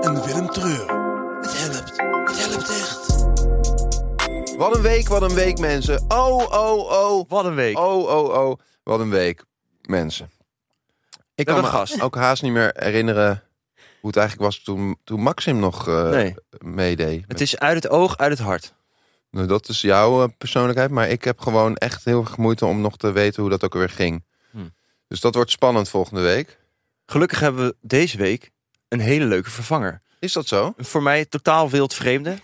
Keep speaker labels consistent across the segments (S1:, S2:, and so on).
S1: en Willem Treur. Het helpt. Het helpt echt.
S2: Wat een week, wat een week, mensen. Oh, oh, oh.
S3: Wat een week.
S2: Oh, oh, oh. Wat een week, mensen. Ik kan me
S3: hebben een gast.
S2: ook haast niet meer herinneren hoe het eigenlijk was toen, toen Maxim nog eh,
S3: Nee.
S2: meedeed.
S3: Het is uit het oog, uit het hart.
S2: Nou, dat is jouw eh, persoonlijkheid, maar ik heb gewoon echt heel erg moeite om nog te weten hoe dat ook weer ging.
S3: Hm.
S2: Dus dat wordt spannend volgende week.
S3: Gelukkig hebben we deze week een hele leuke vervanger.
S2: Is dat zo?
S3: Een Voor mij totaal wild vreemde.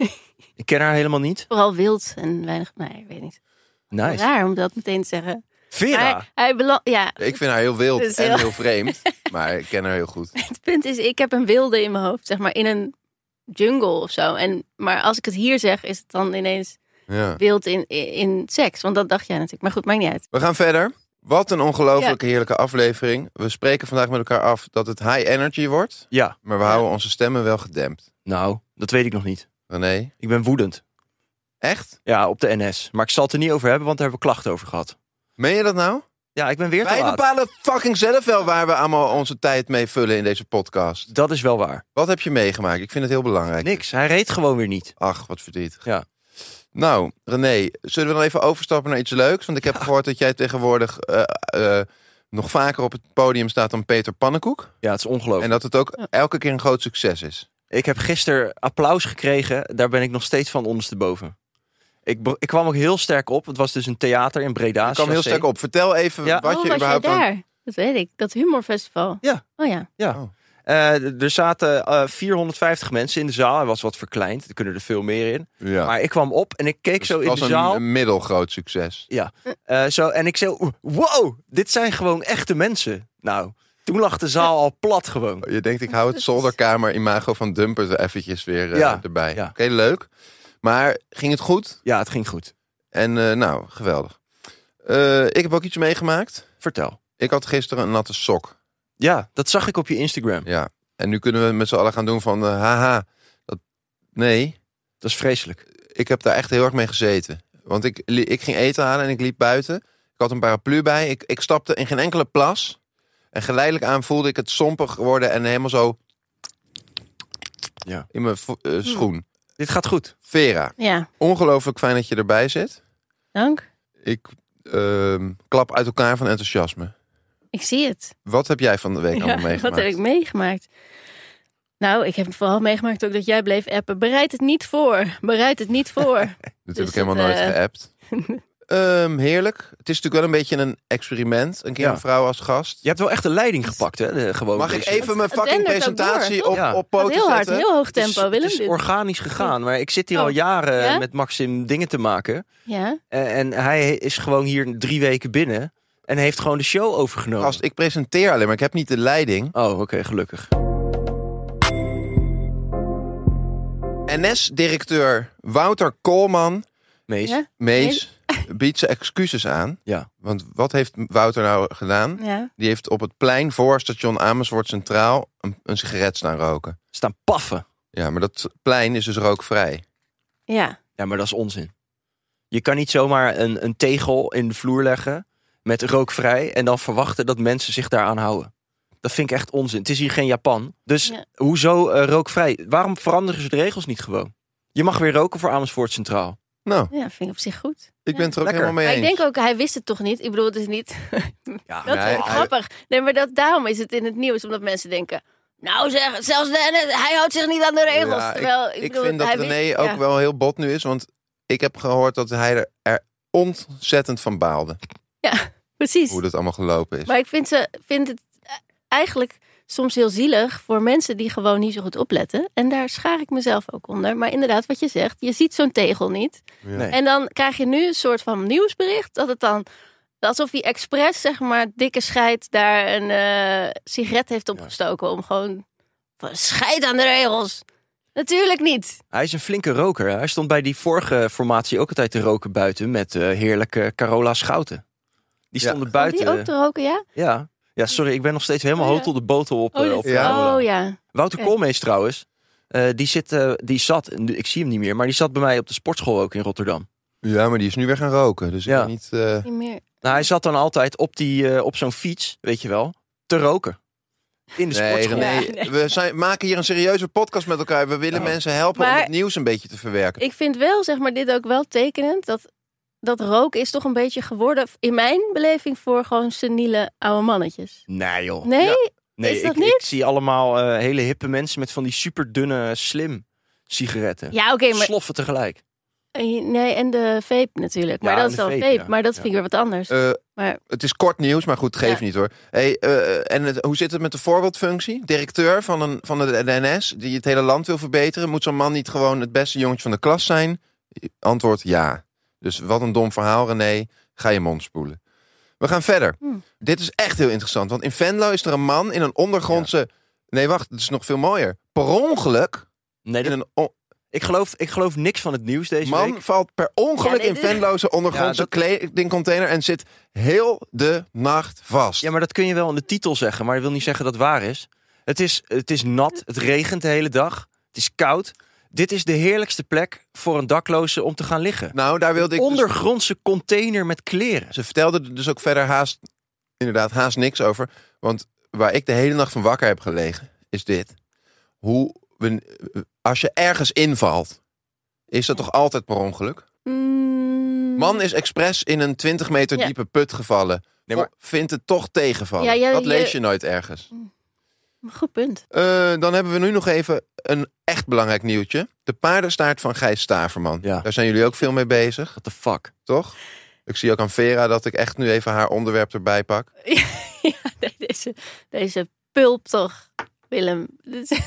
S3: Ik ken haar helemaal niet.
S4: Vooral wild en weinig, nee, ik weet niet.
S3: Nice.
S4: Raar om dat meteen te zeggen.
S3: Vera.
S4: Maar hij bela- ja,
S2: Ik vind haar heel wild
S4: Dus
S2: en
S4: heel-
S2: heel vreemd, maar ik ken haar heel goed.
S4: het punt is, ik heb een wilde in mijn hoofd, zeg maar, in een jungle of zo. En, maar als ik het hier zeg, is het dan ineens
S2: Ja.
S4: wild in, in, in seks. Want dat dacht jij natuurlijk. Maar goed, maakt niet uit.
S2: We gaan verder. Wat een ongelooflijke heerlijke aflevering. We spreken vandaag met elkaar af dat het high energy wordt,
S3: Ja.
S2: maar we houden onze stemmen wel gedempt.
S3: Nou, dat weet ik nog niet.
S2: René,
S3: Ik ben woedend.
S2: echt?
S3: Ja, op de NS. Maar ik zal het er niet over hebben, want daar hebben we klachten over gehad.
S2: Meen je dat nou?
S3: Ja, ik ben weer te
S2: Wij
S3: laat.
S2: bepalen fucking zelf wel waar we allemaal onze tijd mee vullen in deze podcast.
S3: Dat is wel waar.
S2: Wat heb je meegemaakt? Ik vind het heel belangrijk.
S3: Niks. Hij reed gewoon weer niet.
S2: Ach, wat verdrietig.
S3: Ja.
S2: Nou, René, zullen we dan even overstappen naar iets leuks? Want ik heb gehoord dat jij tegenwoordig eh, eh, nog vaker op het podium staat dan Peter Pannenkoek.
S3: Ja, het is ongelooflijk.
S2: En dat het ook elke keer een groot succes is.
S3: Ik heb gisteren applaus gekregen. Daar ben ik nog steeds van ondersteboven. Ik, be- ik kwam ook heel sterk op. Het was dus een theater in Breda.
S2: Ik kwam heel
S3: Chassé.
S2: sterk op. Vertel even
S3: Ja.
S2: wat je
S4: oh, was jij
S2: überhaupt... aan-
S4: daar? Dat weet ik. Dat humorfestival.
S3: Ja.
S4: Oh ja.
S3: Eh, d- er zaten eh, 450 mensen in de zaal. Hij was wat verkleind. Er kunnen er veel meer in.
S2: Ja.
S3: Maar ik kwam op en ik keek
S2: Dus
S3: zo
S2: het
S3: in
S2: was
S3: de
S2: een,
S3: zaal.
S2: een middelgroot succes.
S3: eh, zo, en ik zei, wow, dit zijn gewoon echte mensen. Nou, toen lag de zaal al plat gewoon.
S2: Je denkt, ik hou het zolderkamer-imago van Dumpert er eventjes weer eh,
S3: Ja.
S2: erbij.
S3: Ja.
S2: Oké, leuk. Maar ging het goed?
S3: Ja, het ging goed.
S2: En eh, nou, geweldig. Eh, ik heb ook iets meegemaakt.
S3: Vertel.
S2: Ik had gisteren een natte sok.
S3: Ja, dat zag ik op je Instagram.
S2: Ja, en nu kunnen we met z'n allen gaan doen van, eh, haha, dat, nee,
S3: Dat is vreselijk.
S2: ik heb daar echt heel erg mee gezeten. Want ik, li- ik ging eten halen en ik liep buiten. Ik had een paraplu bij, ik, ik stapte in geen enkele plas. En geleidelijk aan voelde ik het sompig worden en helemaal zo
S3: Ja.
S2: in mijn vo-
S4: Hm.
S2: eh, schoen.
S3: Dit gaat goed.
S2: Vera,
S4: Ja.
S2: ongelooflijk fijn dat je erbij zit.
S4: Dank.
S2: Ik ehm, klap uit elkaar van enthousiasme.
S4: Ik zie het.
S2: Wat heb jij van de week allemaal meegemaakt?
S4: Wat heb ik meegemaakt? Nou, ik heb vooral meegemaakt ook dat jij bleef appen. Bereid het niet voor. Bereid het niet voor.
S2: Dit
S4: Dus
S2: heb ik helemaal
S4: dat,
S2: nooit
S4: eh,
S2: geappt. Ehm, heerlijk. Het is natuurlijk wel een beetje een experiment. Een keer
S3: Ja.
S2: een vrouw als gast.
S3: Je hebt wel echt de leiding gepakt, hè? De, gewoon
S2: Mag ik
S3: deze-
S2: even mijn
S4: Het
S2: fucking
S4: dendert ook
S2: presentatie
S4: door,
S2: op,
S3: toch?
S2: op
S4: Gaat
S2: poten
S4: heel hard,
S2: zetten?
S4: heel hoog
S3: Het is-
S4: tempo. Willem,
S3: Het is
S4: dit.
S3: organisch gegaan, maar ik zit hier
S4: Oh.
S3: al jaren eh,
S4: Ja?
S3: met Maxim dingen te maken.
S4: Ja.
S3: En, en hij is gewoon hier drie weken binnen en heeft gewoon de show overgenomen.
S2: Gast, ik presenteer alleen, maar ik heb niet de leiding.
S3: Oh, oké, gelukkig.
S2: NS-directeur Wouter Koolman,
S3: Mees.
S4: Ja?
S2: Mees, biedt zijn excuses aan.
S3: Ja.
S2: Want wat heeft Wouter nou gedaan?
S4: ja.
S2: Die heeft op het plein voor station Amersfoort Centraal een, een sigaret staan roken.
S3: Staan paffen.
S2: Ja, maar dat plein is dus rookvrij.
S4: Ja.
S3: Ja, maar dat is onzin. Je kan niet zomaar een, een tegel in de vloer leggen met rookvrij en dan verwachten dat mensen zich daaraan houden. Dat vind ik echt onzin. Het is hier geen Japan. Dus
S4: Ja.
S3: hoezo eh, rookvrij? Waarom veranderen ze de regels niet gewoon? Je mag weer roken voor Amersfoort Centraal.
S2: Nou,
S4: ja, vind ik op zich goed.
S2: ik ben het er ook
S3: Lekker.
S2: helemaal mee
S4: Maar
S2: eens.
S4: ik denk ook, hij wist het toch niet. Ik bedoel, het is niet...
S3: Ja,
S4: Dat
S2: Oh, Nee,
S4: is ook
S2: hij-
S4: grappig. Nee, maar dat, daarom is het in het nieuws. Omdat mensen denken... Nou zeg, zelfs de, hij houdt zich niet aan de regels.
S2: Ja, ik-
S4: Terwijl, ik,
S2: ik
S4: bedoel,
S2: vind dat
S4: hij
S2: René
S4: wist-
S2: ook
S4: ja.
S2: wel heel bot nu is. Want ik heb gehoord dat hij er, er ontzettend van baalde.
S4: Precies.
S2: Hoe dat allemaal gelopen is.
S4: Maar ik vind, ze, vind het eigenlijk soms heel zielig voor mensen die gewoon niet zo goed opletten. En daar schaar ik mezelf ook onder. Maar inderdaad, wat je zegt, je ziet zo'n tegel niet.
S2: Ja.
S3: Nee.
S4: En dan krijg je nu een soort van nieuwsbericht dat het dan... Alsof hij expres, zeg maar, dikke scheid daar een eh, sigaret heeft opgestoken. Om gewoon van scheid aan de regels. Natuurlijk niet.
S3: Hij is een flinke roker. hè. Hij stond bij die vorige formatie ook altijd te roken buiten met eh, heerlijke Carola Schouten. Die
S2: Ja.
S3: stonden
S4: Kan
S3: buiten.
S4: Oh, die ook te roken, ja?
S3: Ja. ja, sorry, ik ben nog steeds helemaal
S4: Oh, ja.
S3: hotel de botel op.
S4: Oh,
S3: eh,
S4: dat-
S3: op
S2: Ja.
S3: Carola.
S4: oh ja.
S3: Wouter
S4: Oké.
S3: Koolmees trouwens, eh, die, zit, eh, die zat, en nu- ik zie hem niet meer, maar die zat bij mij op de sportschool ook in Rotterdam.
S2: Ja, maar die is nu weer gaan roken. Dus ik
S3: Ja.
S2: weet niet... eh,
S4: Niet meer.
S3: Nou, hij zat dan altijd op, die, eh, op zo'n fiets, weet je wel, te roken. In de
S2: Nee,
S3: sportschool.
S2: René,
S4: Ja, nee.
S2: we zijn, maken hier een serieuze podcast met elkaar. We willen
S3: Ja.
S2: mensen helpen om
S4: Maar-
S2: het nieuws een beetje te verwerken.
S4: Ik vind wel, zeg maar, dit ook wel tekenend. Dat, dat roken is toch een beetje geworden, in mijn beleving, voor gewoon seniele oude mannetjes.
S3: Nee joh.
S2: Oh,
S4: Nee?
S3: Ja. Nee,
S4: Is dat
S3: ik,
S4: niet?
S3: ik zie allemaal eh, hele hippe mensen met van die superdunne slim sigaretten.
S4: Ja, oké, maar...
S3: Sloffen tegelijk.
S4: Nee, en de vape natuurlijk. Maar
S3: Ja,
S4: dat
S3: en
S4: is
S3: de
S4: dan vape.
S3: vape, ja.
S4: Maar dat
S3: Ja.
S4: vind ik weer wat anders.
S2: Eh,
S4: Maar-
S2: Het is kort nieuws, maar goed, geef
S4: Ja.
S2: niet hoor. Hey, eh, en het- hoe zit het met de voorbeeldfunctie? Directeur van, een, van de NS, die het hele land wil verbeteren. Moet zo'n man niet gewoon het beste jongetje van de klas zijn? Antwoord ja. Dus wat een dom verhaal, René. Ga je mond spoelen. We gaan verder.
S4: Hmm.
S2: Dit is echt heel interessant. Want in Venlo is er een man in een ondergrondse... Nee, wacht, het is nog veel mooier. Per ongeluk...
S3: Nee,
S2: In
S3: dat-
S2: een on-
S3: ik, geloof, ik geloof niks van het nieuws deze
S2: man
S3: week.
S2: valt per ongeluk
S4: Ja, nee,
S2: in
S4: dit-
S2: Venlo's ondergrondse
S3: Ja,
S2: kledingcontainer... en zit heel de nacht vast.
S3: Ja, maar dat kun je wel in de titel zeggen, maar dat wil niet zeggen dat het waar is. Het is, het is nat, het regent de hele dag, het is koud. Dit is de heerlijkste plek voor een dakloze om te gaan liggen.
S2: Nou, daar wilde ik... dus-
S3: Ondergrondse container met kleren.
S2: Ze vertelde er dus ook verder haast, inderdaad, haast niks over. Want waar ik de hele nacht van wakker heb gelegen, is dit. Hoe, we, als je ergens invalt, is dat toch altijd per ongeluk?
S4: Mm.
S2: Eh, Man is expres in een 20 meter
S4: Ja.
S2: diepe put gevallen.
S3: Nee, maar-
S2: Vo- Vindt het toch tegenvallen.
S4: Ja, ja, Mm.
S2: dat
S4: je-
S2: lees je nooit ergens.
S4: Goed punt.
S2: Eh, dan hebben we nu nog even een echt belangrijk nieuwtje. De paardenstaart van Gijs Staverman.
S3: Ja.
S2: Daar zijn jullie ook veel mee bezig,
S3: What the fuck?
S2: toch? Ik zie ook aan Vera dat ik echt nu even haar onderwerp erbij pak.
S4: ja, nee, deze, deze pulp toch, Willem. Dit is-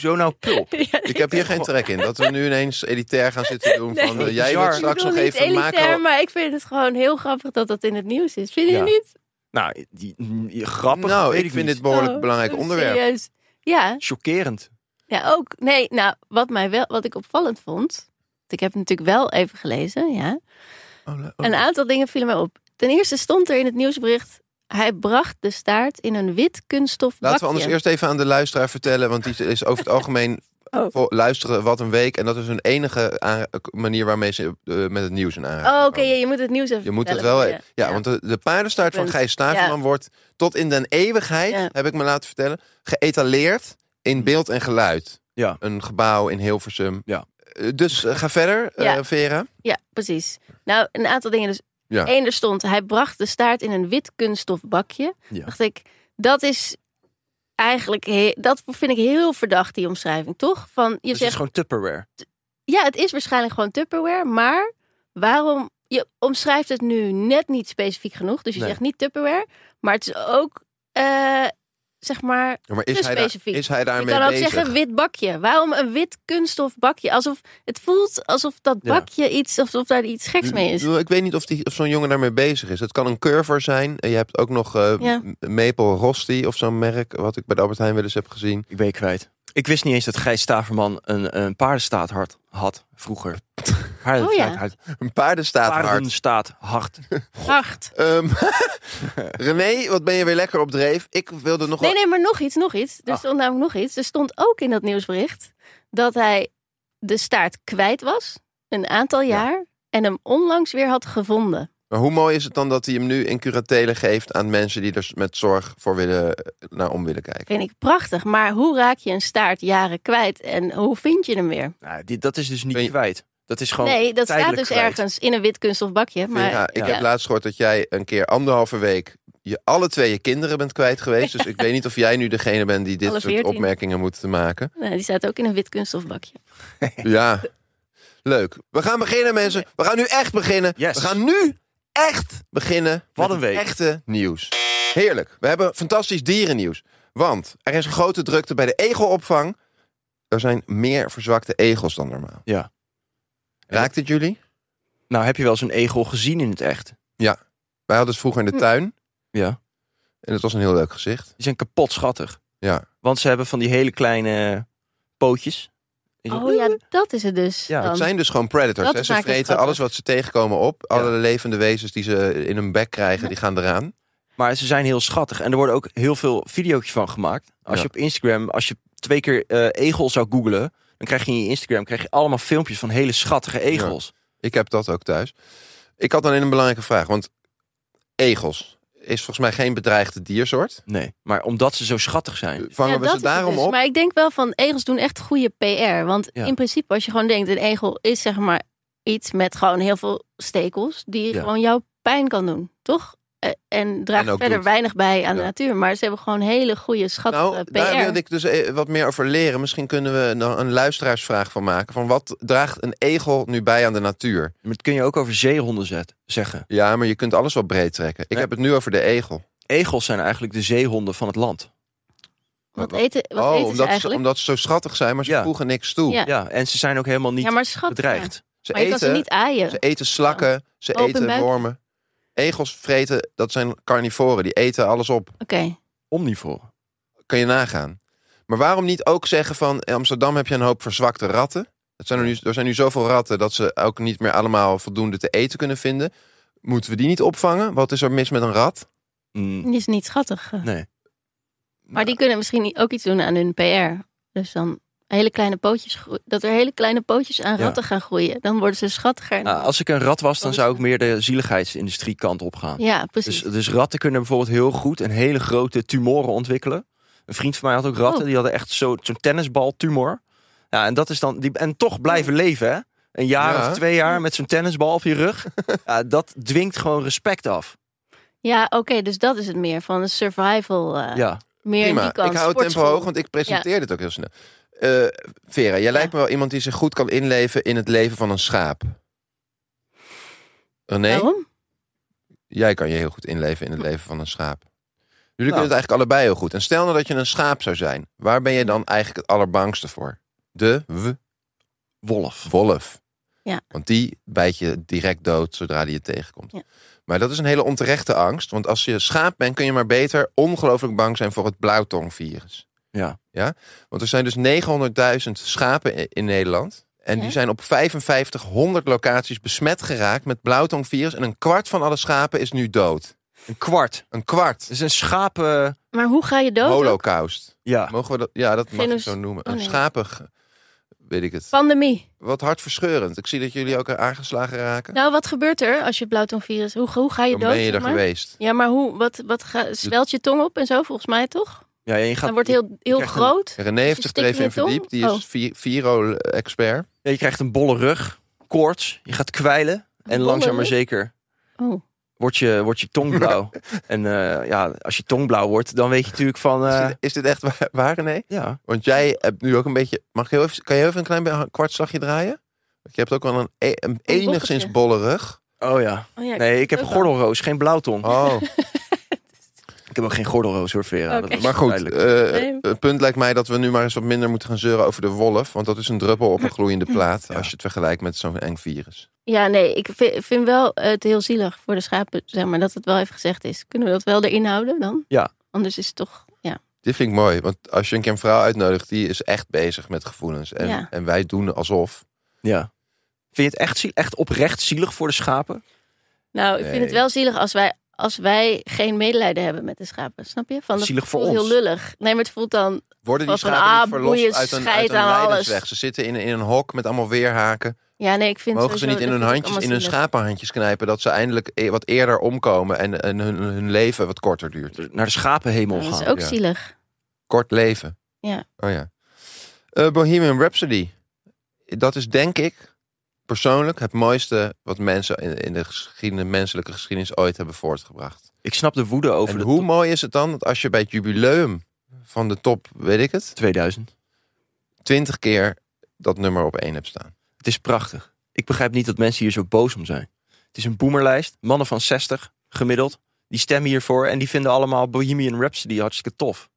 S3: Zo nou pulp.
S4: Ja,
S2: Ik heb hier geen trek in. Dat we nu ineens elitair gaan zitten doen
S4: Nee.
S2: van... eh, jij
S3: Bizar.
S2: wilt
S4: Ik
S2: straks
S4: bedoel
S2: nog
S4: niet
S2: even
S4: elitair,
S2: macro...
S4: maar ik vind het gewoon heel grappig dat dat in het nieuws is. Vind je
S3: Ja.
S4: niet?
S3: Nou, die, die- grappig.
S2: Nou,
S3: weet
S2: ik vind
S3: niet.
S2: dit behoorlijk
S4: Oh,
S2: belangrijk
S4: oh,
S2: onderwerp.
S4: Serieus. Ja,
S3: chockerend.
S4: ja, ook. Nee, nou, wat, mij wel, wat ik opvallend vond. want Ik heb het natuurlijk wel even gelezen, ja.
S2: Oh,
S4: Een aantal dingen vielen mij op. Ten eerste stond er in het nieuwsbericht... Hij bracht de staart in een wit kunststof
S2: Laten we
S4: bakje.
S2: anders eerst even aan de luisteraar vertellen... want die is over het algemeen
S4: Oh.
S2: voor luisteren wat een week... en dat is hun enige aan- manier waarmee ze eh, met het nieuws in aanraking
S4: Oh, oké,
S2: komen.
S4: ja, je moet het nieuws even
S2: Je moet het
S4: vertellen,
S2: wel... e-
S4: ja.
S2: Ja, want de, de paardenstaart van
S4: Punt.
S2: Gijs Staverman wordt tot in den eeuwigheid...
S4: Ja.
S2: heb ik me laten vertellen, geëtaleerd in beeld en geluid.
S3: Hm. Ja.
S2: Een gebouw in Hilversum.
S3: Ja.
S2: Eh, Dus eh, ga verder, eh,
S4: Ja.
S2: Vera.
S4: Ja, precies. Nou, een aantal dingen dus.
S2: Ja.
S4: Eén, er stond, hij bracht de staart in een wit kunststof bakje.
S3: Ja.
S4: Dacht ik, dat is eigenlijk, he- dat vind ik heel verdacht, die omschrijving, toch? Van, je
S3: Dus het is
S4: zegt,
S3: gewoon Tupperware.
S4: ja, het is waarschijnlijk gewoon Tupperware, maar waarom, je omschrijft het nu net niet specifiek genoeg, dus je
S3: Nee.
S4: zegt niet Tupperware, maar het is ook, eh, zeg maar,
S2: Ja, maar is,
S4: Te
S2: hij daar,
S4: specifiek.
S2: is hij
S4: je
S2: daarmee
S4: kan ook
S2: bezig?
S4: zeggen wit bakje. Waarom een wit kunststof bakje? Alsof, het voelt alsof dat
S3: Ja.
S4: bakje iets, alsof daar iets geks mee
S2: Ik
S4: is.
S2: bedoel, Ik weet niet of, die- of zo'n jongen daarmee bezig is. Het kan een curver zijn. En Je hebt ook nog eh,
S4: Ja.
S2: M- Maple Rosti of zo'n merk... wat ik bij de Albert Heijn wel eens heb gezien.
S3: Ik ben je kwijt. Ik wist niet eens dat Gijs Staverman een, een paardenstaat hard had vroeger. Paarden,
S4: Oh ja.
S3: hard,
S2: Een paardenstaat hard.
S3: paardenstaat hard.
S4: Hard.
S2: Ehm, René, wat ben je weer lekker op dreef. Ik wilde nog
S4: Nee,
S2: wel...
S4: nee, maar nog iets, nog iets. Er
S3: Ah.
S4: stond namelijk nog iets. Er stond ook in dat nieuwsbericht dat hij de staart kwijt was, een aantal jaar, en hem onlangs weer had gevonden.
S2: Maar hoe mooi is het dan dat hij hem nu in curatele geeft... aan mensen die er met zorg voor willen, eh, naar om willen kijken?
S4: Vind ik prachtig. Maar hoe raak je een staart jaren kwijt en hoe vind je hem weer?
S3: Nou, dit, dat is dus niet
S2: Ben je-
S3: kwijt. Dat is gewoon
S4: nee, dat staat
S3: tijdelijk
S4: dus
S3: kwijt.
S4: ergens in een wit kunststof bakje. Maar
S2: Vera, ik
S4: ja.
S2: heb laatst gehoord dat jij een keer anderhalve week je alle twee je kinderen bent kwijt geweest. Dus ik weet niet of jij nu degene bent die dit
S4: Alle
S2: soort
S4: 14.
S2: opmerkingen moet maken.
S4: Nee, die staat ook in een wit kunststof bakje.
S2: Ja, leuk. We gaan beginnen mensen. We gaan nu echt beginnen.
S3: Yes.
S2: We gaan nu echt beginnen
S3: Wat
S2: met
S3: een week.
S2: het echte nieuws. Heerlijk. We hebben fantastisch dierennieuws. Want er is een grote drukte bij de egelopvang. Er zijn meer verzwakte egels dan normaal.
S3: Ja.
S2: Raakt het jullie?
S3: Nou, heb je wel eens een egel gezien in het echt?
S2: Wij hadden ze vroeger
S4: Hm.
S2: in de tuin.
S3: Ja.
S2: En het was een heel leuk gezicht.
S3: Die zijn kapot schattig.
S2: Ja.
S3: Want ze hebben van die hele kleine pootjes. Is ook-
S4: Oh ja, dat is het dus.
S3: Ja, het
S4: dan.
S2: Het zijn dus gewoon predators.
S4: Dat
S2: Hè? Ze
S4: maakt het
S2: vreten
S4: grappig.
S2: alles wat ze tegenkomen op. Alle levende wezens die ze in hun bek krijgen, die gaan eraan.
S3: Maar ze zijn heel schattig. En er worden ook heel veel video's van gemaakt. Als
S2: Ja.
S3: je op Instagram, als je twee keer eh, egel zou googlen, dan krijg je in je Instagram krijg je allemaal filmpjes van hele schattige egels.
S2: Ik heb dat ook thuis. Ik had alleen een belangrijke vraag. Want egels is volgens mij geen bedreigde diersoort.
S3: Nee, Eh, maar omdat ze zo schattig zijn.
S2: Vangen
S4: Ja,
S2: we
S4: dat
S2: ze
S4: is het
S2: daarom
S4: dus.
S2: op?
S4: Maar ik denk wel van egels doen echt goede PR. Want
S3: Ja.
S4: in principe, als je gewoon denkt, een egel is zeg maar iets met gewoon heel veel stekels die
S3: Ja.
S4: gewoon jou pijn kan doen, toch? Eh, En draagt
S2: En ook
S4: verder
S2: doet.
S4: weinig bij aan de
S2: Ja.
S4: natuur. Maar ze hebben gewoon hele goede, schattige
S2: Nou,
S4: PR.
S2: daar wilde ik dus eh, wat meer over leren. Misschien kunnen we dan een luisteraarsvraag van maken. Van wat draagt een egel nu bij aan de natuur?
S3: Maar dat kun je ook over zeehonden zet, zeggen.
S2: Ja, maar je kunt alles wel breed trekken. Ik
S3: Ja.
S2: heb het nu over de egel.
S3: Egels zijn eigenlijk de zeehonden van het land.
S4: Wat eten, wat
S2: oh,
S4: eten ze
S2: omdat, ze,
S4: eigenlijk?
S2: omdat ze zo schattig zijn, maar ze
S3: Ja.
S2: voegen niks toe.
S4: Ja.
S3: Ja, en ze zijn ook helemaal niet
S4: ja, maar eh, schat.
S3: bedreigd.
S2: Ze,
S4: Maar je kan ze
S2: eten,
S4: niet aaien.
S2: ze eten slakken, ze
S4: Open
S2: eten
S4: buik.
S2: wormen. Egels vreten, dat zijn carnivoren. Die eten alles op.
S4: Oké.
S3: Omnivoren.
S2: Kan je nagaan. Maar waarom niet ook zeggen van... In Amsterdam heb je een hoop verzwakte ratten. Dat zijn er, nu, er zijn nu zoveel ratten dat ze ook niet meer allemaal voldoende te eten kunnen vinden. Moeten we die niet opvangen? Wat is er mis met een rat?
S3: Mm,
S4: Die is niet schattig. eh.
S3: nee.
S4: Maar die kunnen misschien ook iets doen aan hun PR. Dus dan hele kleine pootjes groe- dat er hele kleine pootjes aan
S3: Ja.
S4: ratten gaan groeien. Dan worden ze schattiger.
S3: Nou,
S2: Ah,
S3: als ik een rat was, dan zou ik meer de zieligheidsindustrie kant op gaan.
S4: Ja,
S3: Dus,
S4: precies.
S3: dus ratten kunnen bijvoorbeeld heel goed een hele grote tumoren ontwikkelen. Een vriend van mij had ook ratten,
S4: Oh.
S3: die hadden echt zo- zo'n tennisbal tumor. Ja, en dat is dan die, en toch blijven leven, hè? Een jaar
S2: Ja.
S3: of twee jaar met zo'n tennisbal op je rug. Ja, dat dwingt gewoon respect af.
S4: Ja, oké, dus dat is het meer van een survival. eh,
S3: Ja,
S4: Meer in die
S2: Prima,
S4: kant.
S2: ik hou het tempo
S4: sportschool.
S2: hoog, want ik presenteer dit ook heel snel. Eh, Vera, jij lijkt me wel iemand die zich goed kan inleven in het leven van een schaap. René,
S4: Waarom?
S2: jij kan je heel goed inleven in
S4: Hm.
S2: het leven van een schaap. Jullie
S3: Nou.
S2: kunnen het eigenlijk allebei heel goed. En stel nou dat je een schaap zou zijn. Waar ben je dan eigenlijk het allerbangste voor? De w-
S3: wolf.
S2: wolf.
S4: Ja.
S2: Want die bijt je direct dood zodra die je tegenkomt.
S4: Ja.
S2: Maar dat is een hele onterechte angst. Want als je schaap bent, kun je maar beter ongelooflijk bang zijn voor het blauwtongvirus.
S3: Ja.
S2: Want er zijn dus 900.000 schapen i- in Nederland. En die
S4: Ja.
S2: zijn op 5500 locaties besmet geraakt met blauwtongvirus. En een kwart van alle schapen is nu dood.
S3: Een kwart.
S2: Een kwart.
S3: Dat is een schapen...
S4: Maar hoe ga je dood? ook?
S2: Holocaust.
S3: Ja,
S2: Mogen we dat? Ja, dat mag
S4: Geno-
S2: ik zo noemen.
S4: Oh,
S2: Een
S4: nee.
S2: schapig, weet ik het.
S4: Pandemie.
S2: Wat hartverscheurend. Ik zie dat jullie ook aangeslagen raken.
S4: Nou, wat gebeurt er als je blauwtongvirus? Hoe, hoe ga je
S2: Dan
S4: dood?
S2: ben je
S4: zeg
S2: er
S4: maar?
S2: geweest.
S4: Ja, maar hoe? Wat, wat ga, zwelt je tong op en zo, volgens mij toch?
S3: ja en je, gaat,
S4: Dan wordt heel, heel
S3: krijgt een-
S4: groot.
S2: René heeft zich er
S4: stik in
S2: even in
S4: je tong?
S2: verdiept. Die is vi- viro-expert.
S3: ja, je krijgt een bolle rug, koorts, je gaat kwijlen. En langzaam maar
S4: rug?
S3: zeker
S4: Oh.
S3: wordt je, wordt je tong blauw. en eh, ja, als je tong blauw wordt, dan weet je natuurlijk van...
S2: Is
S3: eh,
S2: dit- Is dit echt waar, waar, René?
S3: ja,
S2: Want jij hebt nu ook een beetje. Mag ik heel even, kan je heel even een klein be- een kwartslagje draaien? Want je hebt ook wel een, e- een enigszins
S4: bochtje.
S2: bolle rug.
S3: oh ja.
S4: Oh, ja.
S3: Nee, ik heb een
S4: ook
S3: gordelroos, geen blauwtong.
S2: Oh,
S3: Ik heb ook geen gordelroos hoor, Vera.
S4: Oké.
S3: Dat was
S2: maar goed.
S3: duidelijk.
S2: eh,
S4: Nee.
S2: Het punt lijkt mij dat we nu maar eens wat minder moeten gaan zeuren over de wolf. Want dat is een druppel op een gloeiende plaat. Als je het vergelijkt met zo'n eng virus.
S4: Ja, nee, ik vind, vind wel eh, het heel zielig voor de schapen, zeg maar, dat het wel even gezegd is. Kunnen we dat wel erin houden dan?
S3: Ja.
S4: Anders is het toch, ja.
S2: Dit vind ik mooi. Want als je een keer een vrouw uitnodigt, die is echt bezig met gevoelens. En,
S4: Ja.
S2: en wij doen alsof.
S3: Ja. Vind je het echt, ziel- echt oprecht zielig voor de schapen?
S4: Nou, ik vind het
S2: Nee.
S4: wel zielig als wij, als wij geen medelijden hebben met de schapen, snap je? Van, dat
S3: Zielig voor
S4: voelt
S3: ons.
S4: heel lullig. Nee, maar het voelt dan,
S2: Worden die
S4: Wat van,
S2: schapen niet
S4: ah,
S2: verlost
S4: boeien,
S2: uit een, uit
S4: scheid
S2: een
S4: aan alles.
S2: lijdensweg? Ze zitten in, in een hok met allemaal weerhaken.
S4: ja, nee, ik vind
S2: Mogen ze niet
S4: sowieso-
S2: in hun
S4: dat vind
S2: handjes,
S4: ik
S2: in
S4: allemaal
S2: hun
S4: zielig.
S2: schapenhandjes knijpen dat ze eindelijk e- wat eerder omkomen en, en hun, hun leven wat korter duurt?
S3: Naar de schapenhemel
S4: Ja,
S3: gaan.
S4: Dat is ook
S2: ja.
S4: zielig.
S2: Kort leven.
S4: Ja.
S2: Oh ja. Eh, Bohemian Rhapsody. Dat is denk ik persoonlijk het mooiste wat mensen in, in de geschiedenis, menselijke geschiedenis ooit hebben voortgebracht.
S3: Ik snap de woede over
S2: en
S3: de
S2: hoe
S3: top
S2: mooi is het dan dat als je bij het jubileum van de top, weet ik het,
S3: 2000.
S2: twintig keer dat nummer op één hebt staan.
S3: Het is prachtig. Ik begrijp niet dat mensen hier zo boos om zijn. Het is een boomerlijst. Mannen van 60, gemiddeld. Die stemmen hiervoor en die vinden allemaal Bohemian Rhapsody hartstikke tof.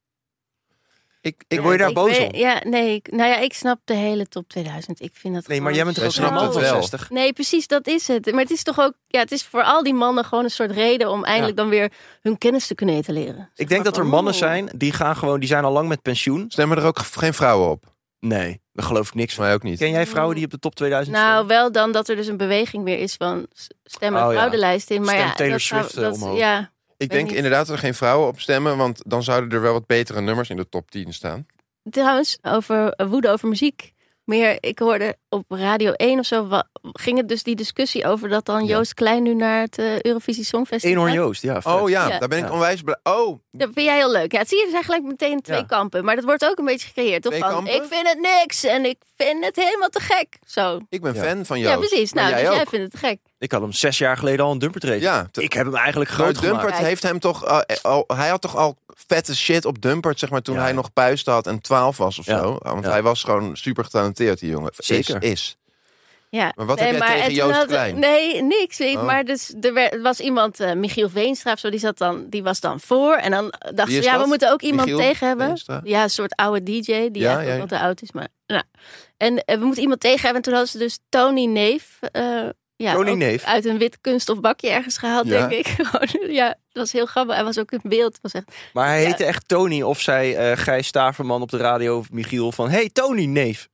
S2: Ik,
S3: En word je daar
S4: Ik
S3: boos
S4: weet-
S3: om?
S4: Ja, nee, ik, nou ja, ik snap de hele top 2000. Ik vind dat
S3: Nee, maar
S4: gewoon
S3: jij bent toch
S4: zo
S2: snapt
S3: ook een man
S2: het
S3: van
S2: wel.
S3: 60?
S4: Nee, precies, dat is het. Maar het is toch ook, ja, het is voor al die mannen gewoon een soort reden om eindelijk dan weer hun kennis te kunnen etaleren. oh.
S3: Ik denk dat er mannen zijn, die, gaan gewoon, die zijn al lang met pensioen.
S2: Stemmen er ook geen vrouwen op?
S3: Nee, Daar geloof ik niks van.
S2: Mij ook niet.
S3: Ken jij vrouwen die op de top 2000
S4: Nou,
S3: staan?
S4: wel dan dat er dus een beweging weer is van s- stem- en
S3: Oh, ja.
S4: fraudenlijst in. Maar
S3: Stem
S4: ja,
S3: Taylor
S4: dat zou-
S3: Swift, eh,
S4: dat-
S3: omhoog.
S4: Ja,
S2: Ik
S4: weet
S2: denk
S4: niet.
S2: inderdaad dat er geen vrouwen op stemmen, want dan zouden er wel wat betere nummers in de top 10 staan.
S4: trouwens, over eh, woede over muziek. Meer, ik hoorde op Radio 1 of zo, wa- ging het dus die discussie over dat dan
S2: Ja.
S4: Joost Klein nu naar het eh, Eurovisie Songfestival
S3: Eenhoorn
S4: gaat?
S3: Joost, ja. vet.
S2: Oh ja,
S4: Ja.
S2: daar ben ik
S3: Ja.
S2: onwijs blij. Oh,
S4: Dat vind jij heel leuk. Ja, het zie je, er zijn gelijk meteen twee
S3: Ja.
S4: kampen. Maar dat wordt ook een beetje gecreëerd, toch?
S2: Twee
S4: Van,
S2: kampen?
S4: ik vind het niks en ik vind het helemaal te gek. Zo.
S2: ik ben
S3: Ja.
S2: fan van jou.
S4: Ja, precies. Nou,
S2: jij
S4: dus jij
S2: ook.
S4: vindt het te gek.
S3: Ik had hem zes jaar geleden al een dumpertreden.
S2: Ja, te-
S3: Ik heb hem eigenlijk
S2: Maar
S3: groot
S2: Dumpert
S3: gemaakt.
S4: Kijk.
S2: heeft hem toch eh, al, hij had toch al vette shit op Dumpert, zeg maar, toen
S3: Ja.
S2: hij nog puist had en 12 was of
S3: Ja.
S2: zo. Want
S3: Ja.
S2: hij was gewoon super getalenteerd, die jongen. Is-
S3: Zeker.
S2: Is,
S4: Ja.
S2: Maar wat heb jij tegen
S4: en toen
S2: Joost
S4: had-
S2: Klein?
S4: Nee, niks. Weet,
S2: Oh.
S4: Maar dus, er werd- was iemand, eh, Michiel Veenstra of zo, die, zat dan, die was dan voor. En dan eh, dacht
S2: Wie
S4: ze,
S2: is
S4: ja, we
S2: dat?
S4: moeten ook iemand
S2: Michiel
S4: tegen hebben.
S2: Veenstra?
S4: Ja, een soort oude DJ, die eigenlijk
S2: ja,
S4: ook
S2: ja.
S4: wel te oud is. Maar, nou. En eh, we moeten iemand tegen hebben. En toen hadden ze dus Tony Neef... eh, ja,
S3: Tony
S4: ook
S3: Neef?
S4: Uit een wit kunststof bakje ergens gehaald,
S2: Ja.
S4: denk ik. Gewoon, ja, dat was heel grappig. Hij was ook in beeld. Het Was echt,
S3: Maar hij heette echt Tony. Of zei eh Gijs Staverman op de radio of Michiel van... Hey, Tony, neef.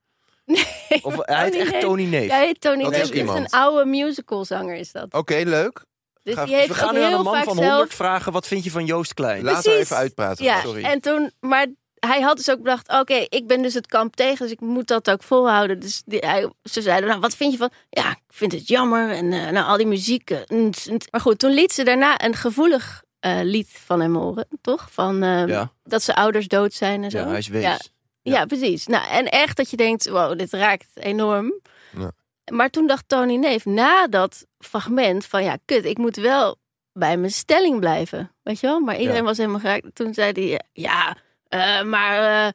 S3: Of eh, hij heet echt
S4: Neef.
S3: Tony Neef. Dus
S4: Ja, hij heet Tony
S2: Dat
S4: Neef.
S2: is
S4: Dat is
S2: iemand.
S4: een oude musicalzanger is dat.
S2: Oké, leuk.
S4: Dus
S2: Gaaf.
S4: die
S3: Dus
S4: heeft
S3: we gaan
S4: ook
S3: nu aan
S4: heel
S3: een man
S4: vaak
S3: van 100
S4: zelf...
S3: vragen. Wat vind je van Joost Klein?
S2: Laat haar
S4: Precies.
S2: even uitpraten.
S4: Ja,
S2: Sorry.
S4: en toen, maar hij had dus ook bedacht: oké, ik ben dus het kamp tegen, dus ik moet dat ook volhouden. Dus die, hij, ze zeiden: nou, wat vind je van? Ja, ik vind het jammer en eh, nou, al die muziek. eh, nt, nt. Maar goed, toen liet ze daarna een gevoelig eh, lied van hem horen, toch? Van eh,
S3: Ja.
S4: dat zijn ouders dood zijn en zo.
S3: Ja, hij is wees.
S4: Ja, ja, precies. Nou, en echt dat je denkt: wow, dit raakt enorm.
S2: Ja.
S4: Maar toen dacht Tony Neef na dat fragment van ja, kut, ik moet wel bij mijn stelling blijven. Weet je wel? Maar iedereen was helemaal geraakt. Toen zei hij, eh, ja, eh, maar, eh,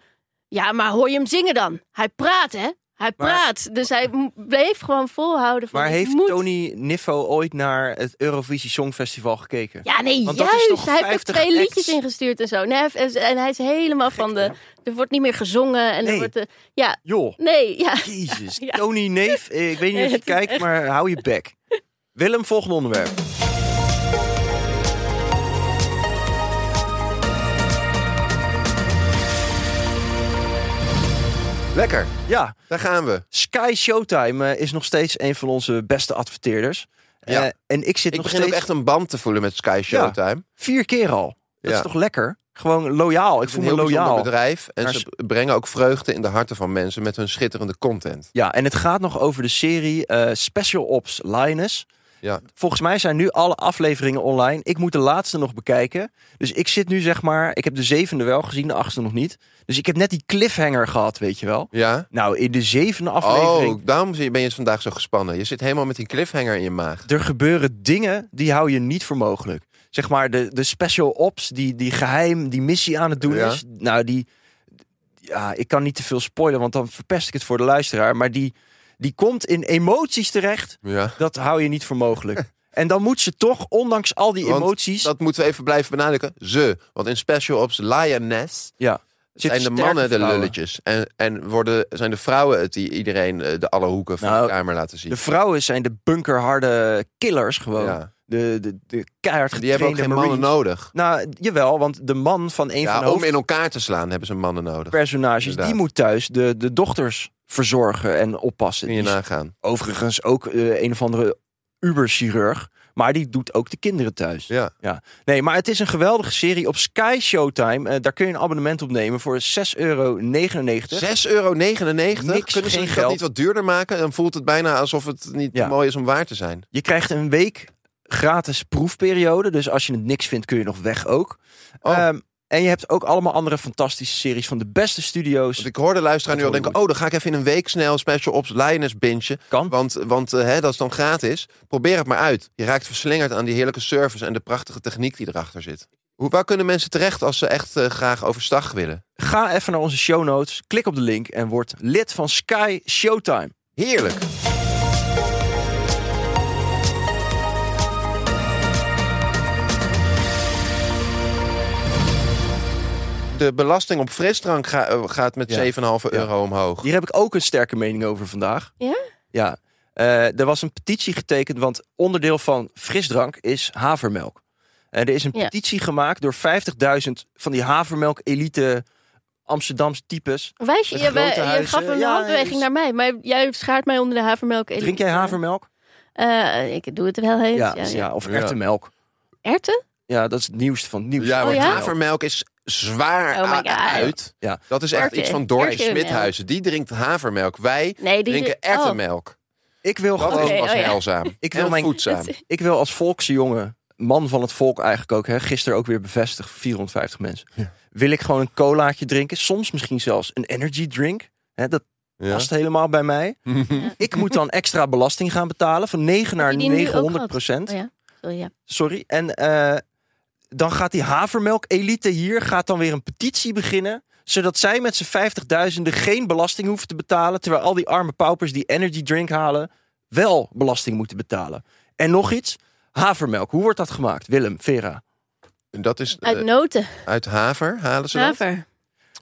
S4: ja, maar hoor je hem zingen dan? Hij praat, hè? Hij
S3: Maar-
S4: praat. dus hij m- bleef gewoon volhouden. Van,
S3: Maar
S4: ik
S3: heeft
S4: moet...
S3: Tony Niffo ooit naar het Eurovisie Songfestival gekeken?
S4: Ja, nee,
S3: Want dat is
S4: juist.
S3: toch
S4: hij heeft er
S3: 50
S4: twee liedjes
S3: acts?
S4: ingestuurd en zo. Nee, hij heeft- en- en hij is helemaal van de... Er wordt niet meer gezongen. En
S3: Nee.
S4: er wordt, eh, ja,
S3: Joh,
S4: nee, ja.
S3: jezus.
S4: Ja.
S3: Tony Neef, eh, ik weet niet
S4: Nee,
S3: of je
S4: het is
S3: kijkt,
S4: echt-
S3: maar hou je bek. Willem, volgende onderwerp.
S2: Lekker,
S3: Ja,
S2: daar gaan we.
S3: Sky Showtime eh, is nog steeds een van onze beste adverteerders.
S2: Ja.
S3: Eh, en ik zit
S2: Ik
S3: nog
S2: begin
S3: steeds
S2: ook echt een band te voelen met Sky Showtime.
S3: vier keer al. Dat
S2: Ja.
S3: is toch lekker? Gewoon loyaal. Ik
S2: Het is een
S3: voel me
S2: heel bijzonder
S3: loyaal.
S2: bedrijf. En
S3: Maar
S2: ze brengen ook vreugde in de harten van mensen met hun schitterende content.
S3: Ja, en het gaat nog over de serie eh, Special Ops Linus.
S2: Ja.
S3: Volgens mij zijn nu alle afleveringen online. Ik moet de laatste nog bekijken. Dus ik zit nu zeg maar... Ik heb de zevende wel gezien, de achtste nog niet. Dus ik heb net die cliffhanger gehad, weet je wel.
S2: Ja?
S3: Nou, in de zevende aflevering...
S2: Oh, daarom ben je het vandaag zo gespannen. Je zit helemaal met die cliffhanger in je maag.
S3: Er gebeuren dingen die hou je niet voor mogelijk. Zeg maar de, de special ops die, die geheim die missie aan het doen
S2: Ja.
S3: is. Nou, die... Ja, ik kan niet te veel spoilen, want dan verpest ik het voor de luisteraar. Maar die, die komt in emoties terecht
S2: Ja.
S3: Dat hou je niet voor mogelijk. En dan moet ze toch, ondanks al die
S2: Want
S3: emoties,
S2: Dat moeten we even blijven benadrukken. Ze. Want in Special Ops Lioness zijn
S3: ja, zitten
S2: de
S3: sterke
S2: mannen de
S3: vrouwen.
S2: lulletjes. En, en worden, zijn de vrouwen het die iedereen eh, de alle hoeken van
S3: Nou,
S2: de kamer laten zien.
S3: De vrouwen zijn de bunkerharde killers gewoon.
S2: Ja.
S3: De, de, de keihard
S2: Die hebben ook geen
S3: getrainde
S2: mannen
S3: Marines.
S2: nodig.
S3: Nou, jawel, want de man van een van de
S2: Ja, om in elkaar te slaan hebben ze mannen nodig.
S3: hoofdpersonages... die
S2: Inderdaad.
S3: moet thuis de, de dochters verzorgen en oppassen.
S2: Kun je
S3: Die is
S2: nagaan.
S3: overigens ook eh, een of andere uberchirurg. Maar die doet ook de kinderen thuis.
S2: Ja.
S3: Nee, maar het is een geweldige serie op Sky Showtime. Eh, daar kun je een abonnement op nemen voor 6,99 euro.
S2: 6,99 euro.
S3: Niks,
S2: Kunnen ze
S3: geen
S2: dat
S3: geld.
S2: niet wat duurder maken? Dan voelt het bijna alsof het niet
S3: Ja.
S2: mooi is om waar te zijn.
S3: Je krijgt een week gratis proefperiode. Dus als je het niks vindt, kun je nog weg ook.
S2: Oh.
S3: Ehm, en je hebt ook allemaal andere fantastische series van de beste studio's.
S2: Want ik hoor de luisteraar nu al
S3: Dat
S2: denken... oh, dan ga ik even in een week snel Special Ops Lioness bingen.
S3: Kan.
S2: Want, want eh, hè, dat is dan gratis. Probeer het maar uit. Je raakt verslingerd aan die heerlijke service... en de prachtige techniek die erachter zit. Hoe, waar kunnen mensen terecht als ze echt eh, graag overstag willen?
S3: Ga even naar onze show notes, klik op de link en word lid van Sky Showtime.
S2: Heerlijk. De belasting op frisdrank ga- eh, gaat met
S3: Ja.
S2: 7,5 euro omhoog.
S3: Hier heb ik ook een sterke mening over vandaag.
S4: Ja?
S3: Ja. Eh, er was een petitie getekend, want onderdeel van frisdrank is havermelk. En er is een
S4: Ja.
S3: petitie gemaakt door 50.000 van die havermelk-elite Amsterdamse types.
S4: Wijs je,
S3: Met
S4: je,
S3: grote
S4: we- je
S3: huizen.
S4: gaf een
S3: Ja,
S4: handbeweging
S3: dus-
S4: naar mij, maar jij schaart mij onder de havermelk.
S3: Drink jij havermelk?
S4: Eh, ik doe het wel eens.
S3: Ja,
S4: Ja,
S3: dus
S4: ja.
S3: ja, of
S2: Ja.
S3: erwtenmelk.
S4: Erwten?
S3: Ja, dat is het nieuwste van het nieuws.
S2: Ja,
S4: Oh
S2: want
S4: ja?
S2: havermelk is zwaar
S4: Oh my
S2: a-
S4: God.
S2: uit.
S3: Ja.
S2: Dat is echt
S4: Erwten-
S2: iets van Dorothy
S4: erwtenmelk.
S2: Smithuizen. Die drinkt havermelk. Wij
S4: Nee, die
S2: drinken
S4: oh.
S2: erwtenmelk.
S3: Ik wil
S2: Dat
S3: gewoon...
S4: Oké,
S2: is pas
S4: oh ja.
S2: heilzaam.
S3: Ik wil
S2: en
S3: mijn-
S2: voedzaam.
S4: Het-
S3: Ik wil als volkse jongen, man van het volk eigenlijk ook, hè, gisteren ook weer bevestigd, 450 mensen. Wil ik gewoon een colaatje drinken, soms misschien zelfs een energy drink. Hè, dat
S2: Ja.
S3: past helemaal bij mij. Ik moet dan extra belasting gaan betalen van 9 naar
S4: je die nu ook
S3: 900
S4: gehad?
S3: procent.
S4: Oh ja, sorry, ja.
S3: Sorry. En eh, dan gaat die havermelk-elite hier gaat dan weer een petitie beginnen. Zodat zij met z'n 50.000 geen belasting hoeven te betalen. Terwijl al die arme paupers die energy drink halen, wel belasting moeten betalen. En nog iets: havermelk. Hoe wordt dat gemaakt, Willem, Vera?
S2: Dat is eh,
S4: Uit noten,
S2: uit haver halen ze dat?
S4: haver.